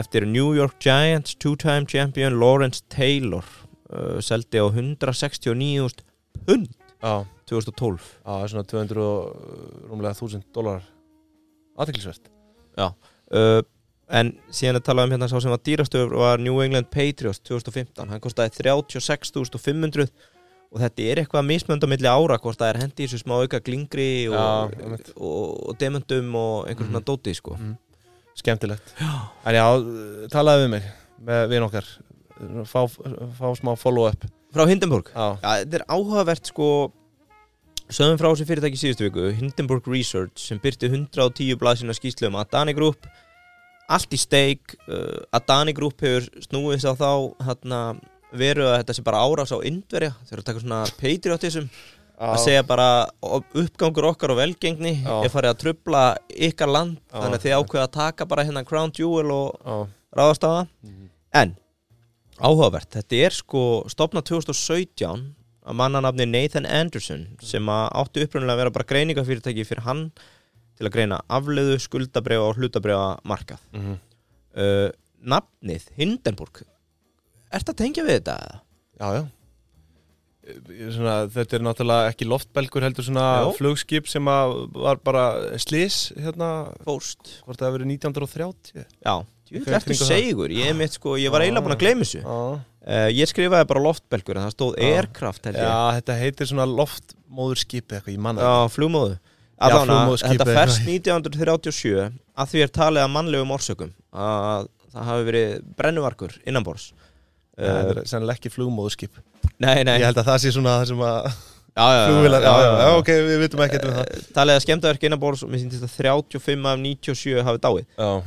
S1: eftir New York Giants two-time champion Lawrence Taylor uh, seldi á 169.000 pund
S2: Já,
S1: 2012
S2: já svona 200 og rúmlega 1000 dólar Aðteklisvert
S1: uh, en síðan að tala um hérna sá sem var dýrastöfur var New England Patriots 2015, hann kostaði 36.500 og þetta er eitthvað mismönda milli ára hvort það er hendi í þessu smá auka glingri og,
S2: Já,
S1: og,
S2: einmitt. Mhm.
S1: og, demundum og einhver svona dóti sko
S2: Skemmtilegt En já, talaðu við mig með vin okkar Fá, fá smá follow-up
S1: frá Hindenburg
S2: Já,
S1: Já, þetta er áhugavert sko Söðum frá þessu fyrirtæki síðustu viku Hindenburg Research sem byrti 110 blaðsina skýslu um Adani Group Allt í steik uh, Adani Group hefur snúið þess að þá hérna, veru að þetta sé bara árás á Indverja þeir eru að taka svona patriotism að segja bara "Op- uppgangur okkar og velgengni
S2: Já.
S1: er farið að trubla ykkar land
S2: Já.
S1: þannig að þið ákveða að taka bara hérna Crown Jewel og
S2: já
S1: ráðast á það
S2: Mhm.
S1: En, áhugavert, þetta er sko stopnað 2017 að mannanafni Nathan Anderson sem að átti upprunalega að vera bara greiningafyrirtæki fyrir hann til að greina afleiðu skuldabrefa og hlutabrefa markað
S2: Mhm.
S1: uh, Nafnið Hindenburg Ertu að tengja við þetta? eða?
S2: Já, já Ég- svona, Þetta er náttúrulega ekki loftbelgur heldur svona
S1: Jó.
S2: flugskip sem að var bara slis hérna,
S1: Fórst
S2: hvort það hafi verið 1930
S1: Já, ég
S2: Eitthvað í
S1: ertu
S2: kringum það. Ah.
S1: segur Ég, er mitt, sko, ég var eiginlega búin að gleyma þessu
S2: Já,
S1: uh, Ég skrifaði bara loftbelgur en það stóð
S2: Já.
S1: aircraft held ég
S2: já þetta heitir svona loftmóðurskip eitthvað, ég manna
S1: Já, flugmóðu Allána,
S2: flugmóðurskipi.
S1: þetta ferst 1937 að því er talið að mannlegum orsökum að það hafi verið Eh, brennuvarkur innanbors
S2: Þetta er sennilega ekki flugmóðurskip
S1: Nei, nei
S2: Ég held að það sé svona það sem að
S1: já, já,
S2: flugvilar, já, já, já, ok, við vitum ekkert um það
S1: Eh, Talið að skemmtaverk innanbors og mér sýndist að 35 af 97 hafi dáið
S2: Já, Mhm.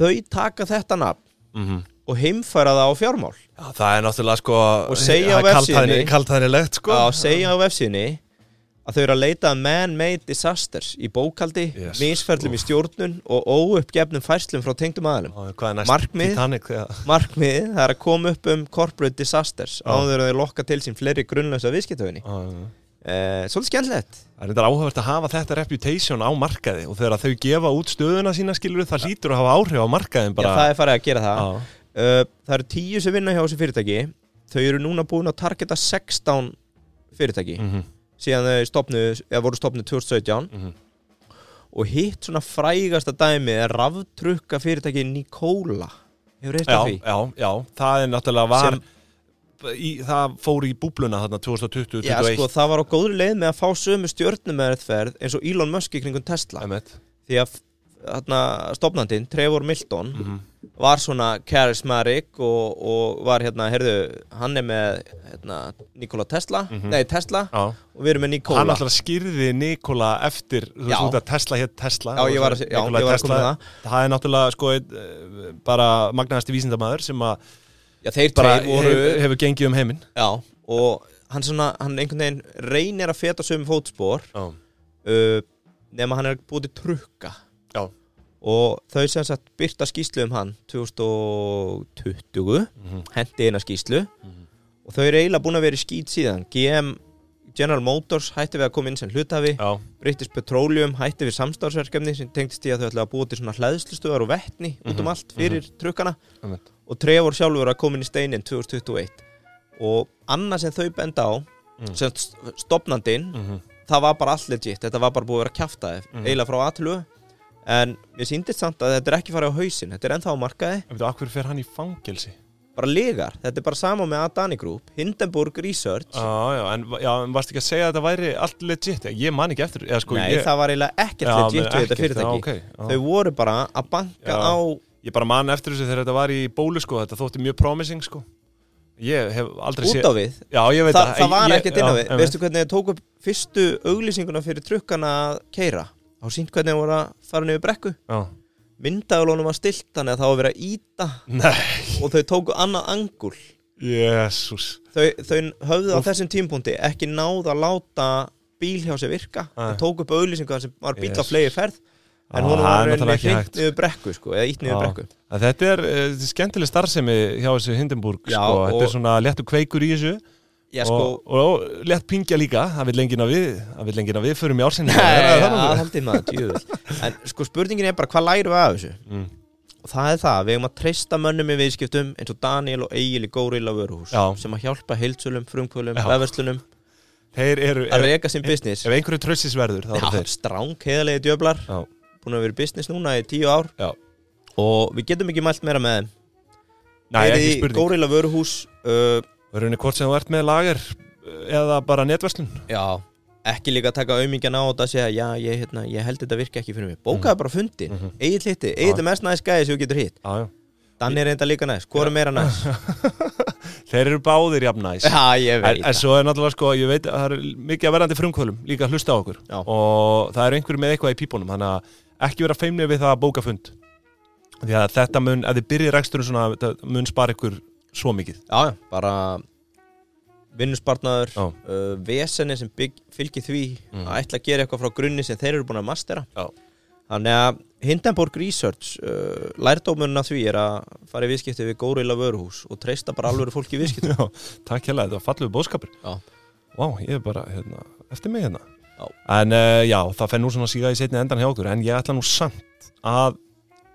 S1: Þau taka þetta nafn og heimfæra það á fjármál
S2: já það er náttúrulega sko
S1: Og segja á
S2: það er kaldhæðni-
S1: vefsíðunni-
S2: Kaldhæðnilegt sko
S1: að segja á vefsíðinni að þau eru að leita að man-made disasters í bókaldi,
S2: Yes.
S1: misferlum í stjórnun og óuppgefnum færslum frá tengdum aðalum
S2: Já, Hvað er næst?
S1: Markmið.
S2: Titanic, já.
S1: markmiðið það er að koma upp um corporate disasters
S2: Já.
S1: áður að þeir lokka til sín fleiri grunnlösa viðskiptöfinni
S2: Já, já, já.
S1: eh, Svolítið skemmtilegt
S2: Það er þetta áhugavert að hafa þetta reputation á markaði og þegar þau gefa út stöðuna sína skilur það hlýtur að hafa áhrif á markaðin
S1: Já,
S2: bara
S1: það er farið að gera það
S2: Já,
S1: uh, Það eru tíu sem vinna hjá þessu fyrirtæki þau eru núna búin að targeta 16 fyrirtæki
S2: mhm,
S1: síðan þau stopnu, eða voru stopnu 2017
S2: mhm.
S1: og hitt svona frægasta dæmi er raftrukka fyrirtæki Nikola Hefur reynt
S2: já,
S1: af því?
S2: já, já, það er náttúrulega var
S1: Sem-
S2: í, það fór í búbluna þarna 2020-2021
S1: Já, sko, það var á góðri leið með að fá sömu stjórnumerðferð eins og Elon Musk í kringum Tesla
S2: Einmitt.
S1: því að þarna, stopnandinn, Trevor Milton
S2: Mhm.
S1: var svona charismatic og, og var hérna, heyrðu, hann er með hérna, Nikola Tesla, nei Tesla
S2: Mhm. Já.
S1: og við erum með Nikola
S2: Hann náttúrulega skýrði Nikola eftir þú
S1: Já.
S2: veist út að Tesla hétt Tesla
S1: Já,
S2: og
S1: ég var að
S2: svo
S1: se- já,
S2: Nikola
S1: ég var að koma
S2: Tesla.
S1: með
S2: Það er náttúrulega sko einn, eh, bara magnaðasti vísindamaður sem að
S1: Já, þeir
S2: bara
S1: tveir voru
S2: hefur, hefur gengið um heiminn
S1: Já, og hann svona, hann einhvern veginn reynir að feta sömu fótspor
S2: Já,
S1: uh, nema hann er búið til trukka
S2: já,
S1: og þau sem sagt byrta skýslu um hann 2020 hendi eina skýslu og þau eru eiginlega búin að vera í skýt síðan GM, General Motors hætti við að koma inn sem hluthafi
S2: já.
S1: British Petroleum hætti við samstarfsverkefni sem tengdist í að þau ætla að búa til svona hlæðslustöðar og vettni út um allt fyrir trukkana
S2: einmitt.
S1: og Trevor sjálfur að koma inn í steinin 2021 og annað sem þau benda á sem st- stofnandinn
S2: Mm. Mhm. Mm.
S1: það var bara allt legit, þetta var bara búið að vera kjafta eiginlega frá aðtölu en ég síndist samt að þetta er ekki farið á hausinn þetta er ennþá á markaði,
S2: En veitu, akkur fer hann í fangelsi?
S1: bara legar þetta er bara sama með Adani Group, Hindenburg Research
S2: Já, já, en, já, en varst ekki að segja að þetta væri allt legit? Ég man ekki eftir, eða sko
S1: Nei,
S2: ég...
S1: það var eiginlega ekkert
S2: Já,
S1: legit
S2: menn
S1: við þetta
S2: ekkert,
S1: fyrirtæki
S2: já, ok, já.
S1: þau voru bara að banka
S2: Já.
S1: á
S2: Ég bara man eftir þessu þegar þetta var í bólu, sko, þetta þótti mjög promising, sko. Ég hef aldrei
S1: út á við
S2: Já, ég veit
S1: Þa,
S2: að...
S1: það var
S2: ég-
S1: ekkert inn á
S2: já,
S1: við
S2: einmitt.
S1: veistu hvernig þau tók upp fyrstu auglýsinguna fyrir trukkana að keira þá sínt hvernig þau voru að fara niður brekku
S2: Já. [laughs]
S1: myndagulónum var stilt þannig að það var verið að íta
S2: Nei,
S1: og þau tóku annað angul
S2: Jésús
S1: þau, þau höfðu á
S2: Úff.
S1: þessum tímpúndi ekki náð að láta bíl hjá sér virka
S2: Nei.
S1: og tók upp auðlýsingu þar sem var bíl á
S2: Jesus.
S1: flegi ferð en
S2: Á,
S1: hún
S2: það er
S1: var
S2: náttúrulega
S1: reyndi
S2: ekki
S1: hringt
S2: hægt.
S1: niður brekku sko, eða ítt niður
S2: Á.
S1: brekku
S2: að þetta er uh, skemmtileg starfsemi hjá þessu Hindenburg
S1: Já,
S2: sko. þetta
S1: og-
S2: er svona léttu kveikur í þessu
S1: Já, sko,
S2: og, og, og létt pingja líka það vil lengina við, það vil lengina við förum í
S1: [laughs]
S2: ársinni
S1: Nei, aðhaldið maður, djúvill En sko spurningin er bara, hvað lærum við af þessu?
S2: Mm.
S1: Og það er það, við eigum að treysta mönnum í viðskiptum eins og Daniel og Egil í Górilla vöruhús
S2: Já.
S1: sem að hjálpa heilsölum, frumkvölum,
S2: Já.
S1: vefverslunum
S2: þeir eru,
S1: að
S2: ef,
S1: reka sinn business
S2: ef einhverju trössis verður þá eru
S1: Já,
S2: þeir
S1: stráng heiðalegi djöflar
S2: Já.
S1: búin að vera í business núna í tíu ár
S2: Já.
S1: og við getum ekki mælt meira með þeim
S2: Nei, ekki
S1: Eruð í
S2: spurning,
S1: Górilla vöruhús uh,
S2: það eru hvort sem þú ert með lager eh, eða bara netverslun
S1: Já ekki líka taka aumingan á þetta að segja já, ég, hérna, ég held þetta virka ekki fyrir mig bókaðu bara fundin, mm
S2: Mhm.
S1: -hmm. Egil hitti Egil er mest næst gæði sem þú getur hitt
S2: já, já.
S1: Danni er enda líka næst, hvað er meira næst?
S2: þeir eru báðir jafn næs
S1: [laughs] Já, ég
S2: En,
S1: veit
S2: en
S1: það
S2: svo er náttúrulega sko, ég veit að það er mikið að verðandi frumkvölum líka að hlusta á okkur
S1: Já.
S2: og það er einhverju með eitthvað í pípunum þannig að ekki vera feimnið við það að bóka fund því að þetta mun, ef þið byrjið reksturinn svona, þetta mun spara ykkur svo mikið
S1: Já, já, bara vinnusbarnaður,
S2: Já.
S1: uh, vesenni sem bygg, fylgir því
S2: Mhm.
S1: að ætla að gera eitthvað frá grunni sem þeir eru búin að mastera
S2: Já.
S1: Þannig að Hindenburg Research uh, lærdómurinn af því er að fara í viðskipti við Górila vöruhús og treysta bara alvöru fólki í
S2: [laughs]
S1: viðskipti
S2: Já, takk hérlega, þetta var fallegur bóðskapur
S1: Já.
S2: Vá, ég er bara, hérna, eftir mig hérna
S1: Já.
S2: En uh, já, það fer nú svona síga í setni endan hjá okkur En ég ætla nú samt að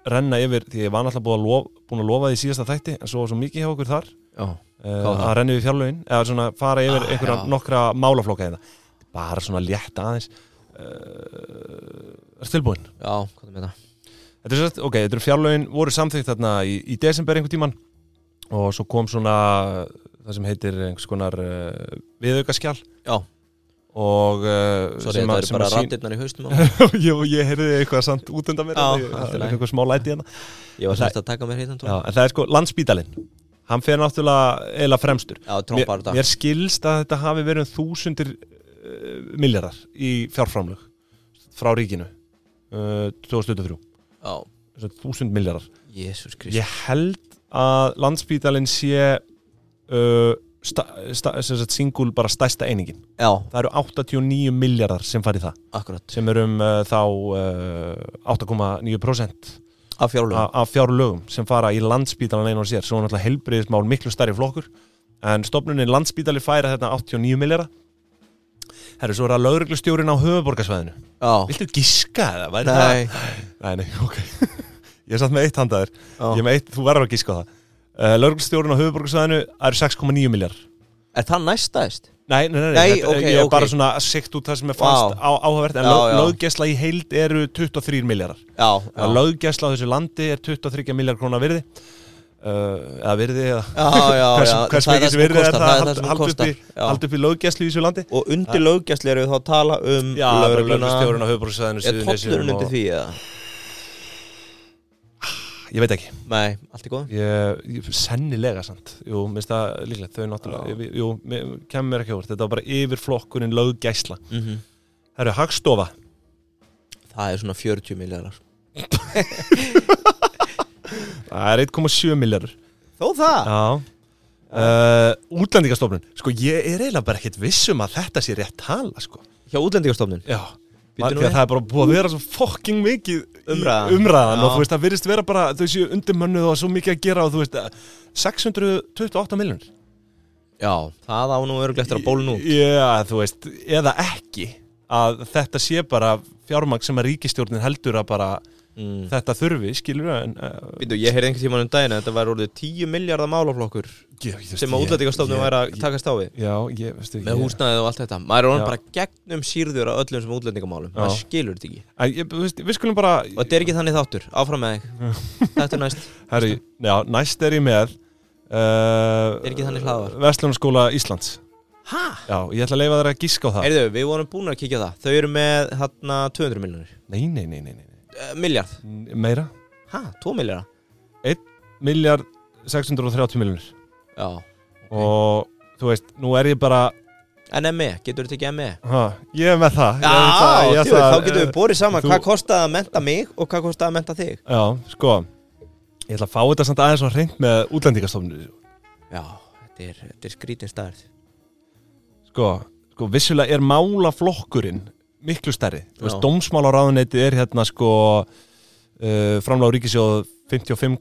S2: renna yfir Því ég var náttúrulega búin að, lof, búin að lofa því í síðasta þætti En svo var svo mikið hjá okkur þar
S1: Já,
S2: uh,
S1: var það?
S2: Að renna yfir fjárlögin Eða svona fara yfir
S1: Ah,
S2: einhverja
S1: já.
S2: nokkra málaflokka hérna Bara svona létt aðeins uh, Er tilbúin?
S1: já, hvað er með það?
S2: Þetta er sett, ok, þetta eru fjárlögin voru samþykkt þarna í, í desember einhver tíman og svo kom svona það sem heitir einhvers konar uh, viðaukaskjál
S1: Já,
S2: og uh,
S1: sorry, það eru bara rattirnar í haustum á
S2: [laughs]
S1: mér.
S2: sín... ég, ég heyrði eitthvað samt út undan mér
S1: Já, allt í
S2: þannig að það er
S1: lagi.
S2: eitthvað smá læti hérna
S1: Ég var semst að taka mér heitan
S2: Já,
S1: tón
S2: en það er sko landsbítalinn hann fer náttúrulega eila fremstur
S1: Já,
S2: mér,
S1: trompar þetta
S2: mér skilst að þetta hafi verið um þúsundir uh, miljardar í fjárframlög frá ríkinu uh, 2023
S1: Já,
S2: þúsund miljardar
S1: Jésús Krist
S2: Ég held að landsbítalinn sé uh, sta, sta, sem sagt singul bara stærsta einingin.
S1: Já,
S2: Það eru 89 miljardar sem farið það,
S1: akkurat
S2: sem eru um uh, þá uh, 8,9%
S1: Af
S2: a-
S1: fjárlögum
S2: af fjárlögum sem fara í landsbítalinn einu og sér, svo er náttúrulega helbriðismál miklu stærri flokkur, en stofnunin landsbítali færa þetta 89 miljardar Herru, svo er það lögreglustjórin á höfuborgarsvæðinu.
S1: Já,
S2: Viltu giska eða? Væri það?
S1: nei
S2: Nei, nei, ok. [laughs] Ég er satt með eitt handaðir.
S1: Já.
S2: Ég meit, þú verður að gíska á það uh, Lörglstjórun á höfuborgarsvæðinu eru 6,9 miljar
S1: Er það næstæðist?
S2: Nei, nei, nei,
S1: Nei,
S2: þetta-
S1: ok,
S2: ég er
S1: ok.
S2: bara svona sikt út það sem er fast
S1: Vá.
S2: á, áhugavert en
S1: Já,
S2: lög,
S1: já.
S2: löggæsla í heild eru 23 miljarar
S1: Já, já.
S2: Löggæsla á þessu landi er 23 miljar krónar virði uh, eða virði eða
S1: já, já,
S2: hversu,
S1: já,
S2: hversu
S1: það er það
S2: mikið
S1: sem hún
S2: virði er
S1: kostar, það er
S2: það
S1: það sem hún
S2: haldi upp,
S1: kostar,
S2: í-
S1: já.
S2: halda upp í löggæslu í þessu landi
S1: Og undir löggæsli eru við þá að tala um
S2: Já,
S1: lögregluna.
S2: lögreglustjórun á höfuborgarsvæðinu
S1: Er tollurinn undir því eða?
S2: Ég veit ekki
S1: Nei, allt í góð
S2: Ég, ég, sennilega samt Jú, minnst það líklegt, þau náttúrulega
S1: Já.
S2: ég, Jú, mér- kemur mér ekki úr, þetta var bara yfirflokkurinn löggæsla
S1: mm
S2: Það eru Hagstofa
S1: Það er svona 40 miljardar
S2: Það er 1,7 miljardur
S1: Þó það?
S2: Já uh, Útlendingastofnun Sko, ég er eiginlega bara ekkert viss um að þetta sé rétt tala, sko
S1: Hjá útlendingastofnun?
S2: Já
S1: Bíddu
S2: Því
S1: nú
S2: að það er bara búið að vera svo fokking mikið í
S1: Umræðan.
S2: umræðan og
S1: Já.
S2: þú veist, það virðist vera bara, þau séu undirmönnuð og svo mikið að gera og þú veist, 628 miljonir
S1: Já, það á nú örugglega eftir að bólu nú
S2: Já, þú veist, eða ekki að þetta sé bara fjármagn sem að ríkistjórnin heldur að bara
S1: mm.
S2: þetta þurfi, skilur við en, uh,
S1: Býtu, ég heyrði einhvern tímann um daginn að þetta var orðið 10 miljardar málaflokkur
S2: ég, ég,
S1: sem að útlendingastofnun væri að
S2: taka
S1: takast á við
S2: Já, ég, veistu,
S1: með
S2: ég-
S1: húsnæðið og allt þetta maður er orðin
S2: Já.
S1: bara gegnum sírður á öllum sem útlendingamálum
S2: Já.
S1: maður skilur þetta ekki
S2: Æ, ég, þú veist, Við skulum bara
S1: og þetta er ekki þannig þáttur áfram með þig þetta er næst
S2: herri, já, Næst er ég með uh,
S1: Er ekki þannig hlaðvarp?
S2: Vestlunarskóla Íslands
S1: [laughs] ha?
S2: Já, ég ætla að leifa þær að gíska á það
S1: Heyrðu, við vorum búin að kíkja á það Þau eru með hérna 200 miljonir
S2: Nei, nei, nei, nei, nei,
S1: uh, Miljard,
S2: nei. Meira
S1: ha, 2 miljard
S2: Miljard 630 miljonir
S1: Já,
S2: Og þú veist, nú er ég bara
S1: en ME, getur þetta ekki ME?
S2: ha, Ég er með það
S1: E? Já,
S2: ég, ætla- ég
S1: djú,
S2: ætla að-
S1: þá getur við borið saman
S2: þú-
S1: hvað kostaði að menta mig og hvað kostaði að menta þig
S2: Já, sko Ég ætla að fá þetta samt aðeins og hreint með útlendingastofnun
S1: Já, þetta er, þetta er skrítin stærð
S2: sko, sko vissulega er málaflokkurinn miklu stærri þú veist,
S1: Já.
S2: dómsmálaráðuneytið er hérna sko uh, framláð ríkisjóð 55,9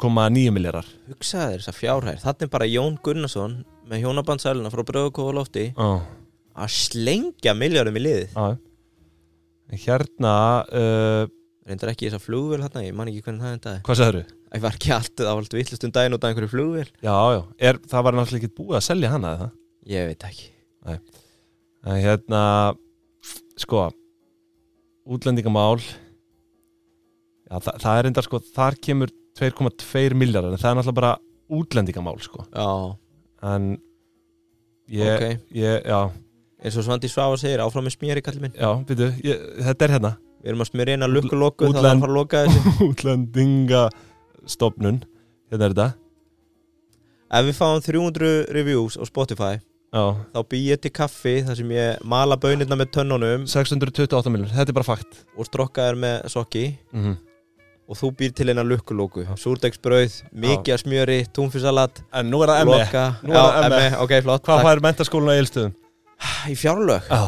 S2: miljardar
S1: hugsaði þess að fjárhæð, þannig bara Jón Gunnarsson með hjónabandsæluna frá Bröðukófa lofti
S2: á,
S1: að slengja miljónum í liðið
S2: á En hérna uh,
S1: reyndar ekki þess að flugvél hérna, ég man ekki hvernig það endaði
S2: hvað sagður
S1: ég var ekki allt, það var allt vittlust um daginn út af einhverju flugvél
S2: já, já, er, það var náttúrulega ekki búið að selja hana eða?
S1: ég veit ekki
S2: en hérna sko útlendingamál já, það, það er enda sko, þar kemur 2,2 miljardar en það er náttúrulega bara útlendingamál sko
S1: já,
S2: en ég,
S1: ok,
S2: ég, já,
S1: eins og Svandi Svafa segir áfram með smjöri kallið minn,
S2: já, byrju, ég, þetta er hérna [laughs]
S1: við erum að smjöri eina lukkuloku
S2: Útlen-
S1: það þarf að fara að loka þessu
S2: útlendingastofnun hérna er þetta
S1: ef við fáum 300 reviews á Spotify
S2: já,
S1: þá bý ég til kaffi þar sem ég mala bönirna með tönnunum
S2: 628 miljonir, þetta er bara fakt
S1: og strokka þær með sokki
S2: mm
S1: og þú býr til eina lukkulóku súrdegsbrauð, mikið af smjöri, túnfisalat
S2: en nú er það ME,
S1: loka,
S2: Nú er það
S1: já,
S2: ME.
S1: ME, ok, flott
S2: hvað
S1: takk.
S2: fær mentaskólan á eilstöðum?
S1: í fjárlög
S2: já,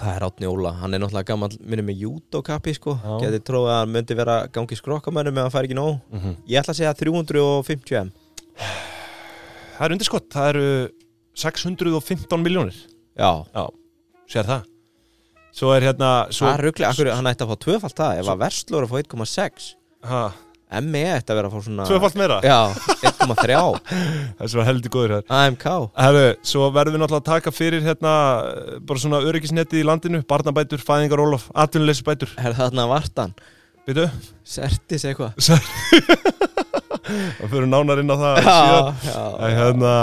S1: hvað er Átni Óla, hann er náttúrulega gammal minni með júdokappi sko,
S2: Já.
S1: geti tróð að hann myndi vera gangi skrokkamönnum ef hann fær ekki nóg
S2: mm -hmm.
S1: ég ætla að segja 350 m
S2: það er undirskott, það eru 615 miljonir
S1: já,
S2: sér það svo er hérna svo,
S1: það er rugglega, akkur, hann ætti að fá tvöfalt það ef
S2: Svo-
S1: að verslur að fá 1,6
S2: ha,
S1: ME E ætti að vera að fá svona
S2: tvöfalt meira
S1: Ah. já, 1,3
S2: þessi var heldur góður hér
S1: AMK,
S2: Herru, svo verðum við náttúrulega að taka fyrir hérna, bara svona öryggisnetið í landinu, barnabætur, fæðingarólof, atvinnuleysbætur,
S1: er þarna vartan
S2: byrju,
S1: Sertis eitthvað
S2: það fyrir nánar inn á það síðan.
S1: Já,
S2: En
S1: já,
S2: hérna,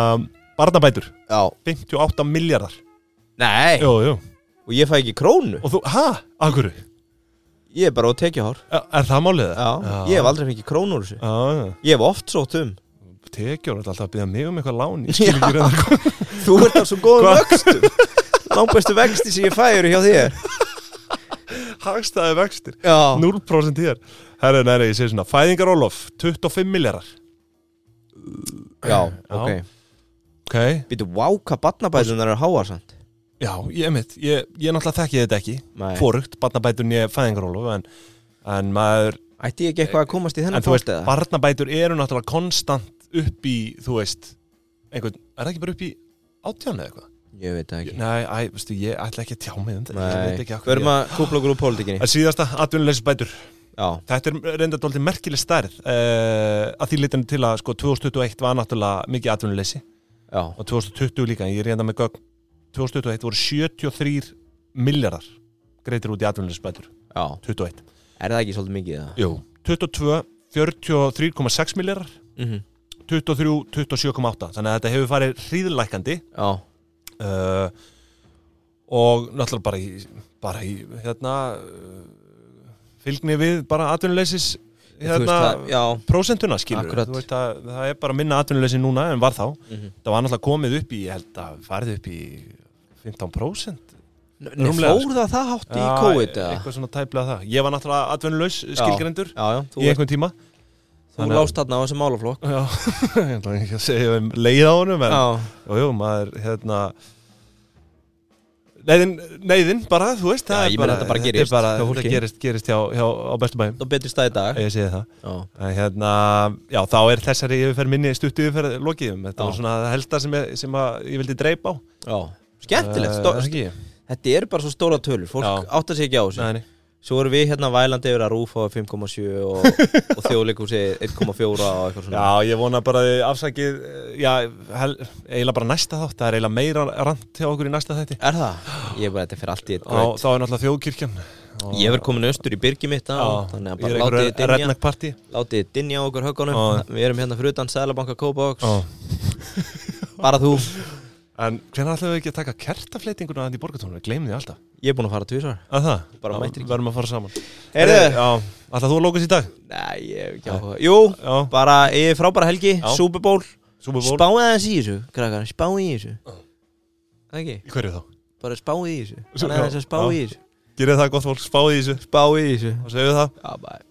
S2: barnabætur,
S1: já
S2: 58 miljardar.
S1: Nei,
S2: Jú, jú.
S1: og ég fæ ekki krónu
S2: Og þú, hæ, akkur,
S1: Ég er bara á tekjuhár
S2: er það málið það?
S1: Já, ég hef aldrei fengið krónu úr þessu
S2: Já, já.
S1: Ég hef oft sótt um
S2: tekjur alltaf að byrja mig um eitthvað lán, ég skil ekki reyndar hvað. [laughs]
S1: Þú ert af svo góðum [laughs] vöxtum Langbæstu vexti sem ég fæ eru hjá þér
S2: Hagstæði vextir,
S1: Já,
S2: 0% hér. Herru, næri, ég segi svona, fæðingarólof, 25 miljardar.
S1: já ok
S2: Ok,
S1: Býtu, vá, hvað barnabæðunar eru háarsand
S2: já, ég mitt, ég, ég náttúrulega þekki þetta ekki.
S1: Nei,
S2: fórugt, barnabætur nýja fæðingarólof en, en maður,
S1: ætti ég ekki eitthvað að komast í
S2: en
S1: þennan
S2: þú veist,
S1: þátt eða?
S2: barnabætur eru náttúrulega konstant upp í, þú veist einhvern, er það ekki bara upp í átján eða eitthvað?
S1: Ég veit það ekki
S2: Nei, æ, veistu, ég ætla ekki að tjá mig um þetta, ég veit
S1: Nei,
S2: ekki að
S1: verum að kúpla okkur úr pólitíkinni
S2: að síðasta atvinnuleysbætur,
S1: Já,
S2: þetta er reynda dólti merkileg stærð uh, að því leitinu til að sko 2021 var náttúrulega mikið atvinnuleysi
S1: já,
S2: og 2020 líka, ég er reynda með gögn 2021 voru 73 miljardar greitir út í atvinnuleysbætur
S1: já
S2: 21
S1: Er það ekki svolítið mikið það?
S2: Jú, 22, 43,6 miljardar
S1: Mm
S2: 23, 27,8 þannig að þetta hefur farið hríðlækandi
S1: Já,
S2: uh, og náttúrulega bara í, bara í hérna uh, fylgni við bara atvinnuleysis
S1: þú veist
S2: hérna,
S1: það, já
S2: prósentuna skilur
S1: Akkurat.
S2: veist, að, það er bara minna atvinnuleysi núna en var þá
S1: Mhm.
S2: það var náttúrulega komið upp í, ég held að farið upp í 15%
S1: Nei,
S2: Rúmlega,
S1: fór það það hátt í
S2: Já,
S1: COVID eða?
S2: eitthvað svona tæplega það ég var náttúrulega atvinnulaus skilgrendur
S1: Já, já, þú,
S2: í einhvern tíma
S1: þú
S2: þannig að-
S1: lást þarna á þessu málaflokk
S2: Já, [laughs] ég ætla ekki að segja um leið á honum en,
S1: Já,
S2: jú, jú, maður, hérna neyðin, neyðin bara, þú veist,
S1: Já, ég
S2: það er
S1: meina,
S2: bara
S1: þetta bara
S2: þetta er
S1: gerist
S2: bara,
S1: hjá fólki.
S2: þetta gerist, gerist hjá, hjá á bestu bæjum,
S1: þá betur stað í dag
S2: ég segi það
S1: Já,
S2: en, hérna, já, þá er þessari yfirferð minni stutt yfirferð lokiðum,
S1: Já.
S2: þetta var svona það helsta sem, ég, sem að ég vildi dreip á
S1: já Skemmtilegt,
S2: Eh,
S1: stó-
S2: ekki?
S1: Þetta eru bara svo stóra tölur, fólk
S2: Já.
S1: áttar sig ekki á þessu
S2: Nei, nei.
S1: Svo eru við hérna vælandi yfir að rúfa 5,7
S2: [laughs]
S1: og, og þjóðleikúsi 1,4 og eitthvað svona
S2: Já, ég vona bara að þið afsakið eh, já, hel, eiginlega bara næsta þátt það er eiginlega meira rant hjá okkur í næsta þætti
S1: Er það? Ég er bara þetta fyrir allt í eitt
S2: og
S1: grönt
S2: þá er náttúrulega þjóðkirkjan og-
S1: Ég verður komin austur í byrgi mitt á, þannig að bara látið þið dinja
S2: redneck party
S1: Látið þið dinja á okkur höggunum
S2: Já.
S1: Við erum hérna fyrir utan Sælabanka Kópavox [laughs] Bara þú
S2: En hvernig ætlum við ekki að taka kertafleitinguna þannig í borgatónu? Gleimum því alltaf
S1: Ég er búin að fara tvisvar
S2: Að það?
S1: Bara
S2: Já,
S1: mætir ekki.
S2: Verðum að fara saman Eh,
S1: Heyrðu.
S2: Já, alltaf þú að lókast í dag?
S1: Nei, ég hef ekki áhuga Jú,
S2: Já,
S1: bara ég er frábæra helgi,
S2: Já.
S1: Super Bowl
S2: Super Bowl
S1: Spáið aðeins í þessu, krakkar, spáið í þessu Það ekki?
S2: Í hverju þá?
S1: bara spáði í þessu
S2: Svo-
S1: Þannig að þess að
S2: já,
S1: spáði
S2: já.
S1: í þessu
S2: Gerið það gott fólk, spáði í þessu
S1: Spáði í þessu
S2: og segju það
S1: Já, bæ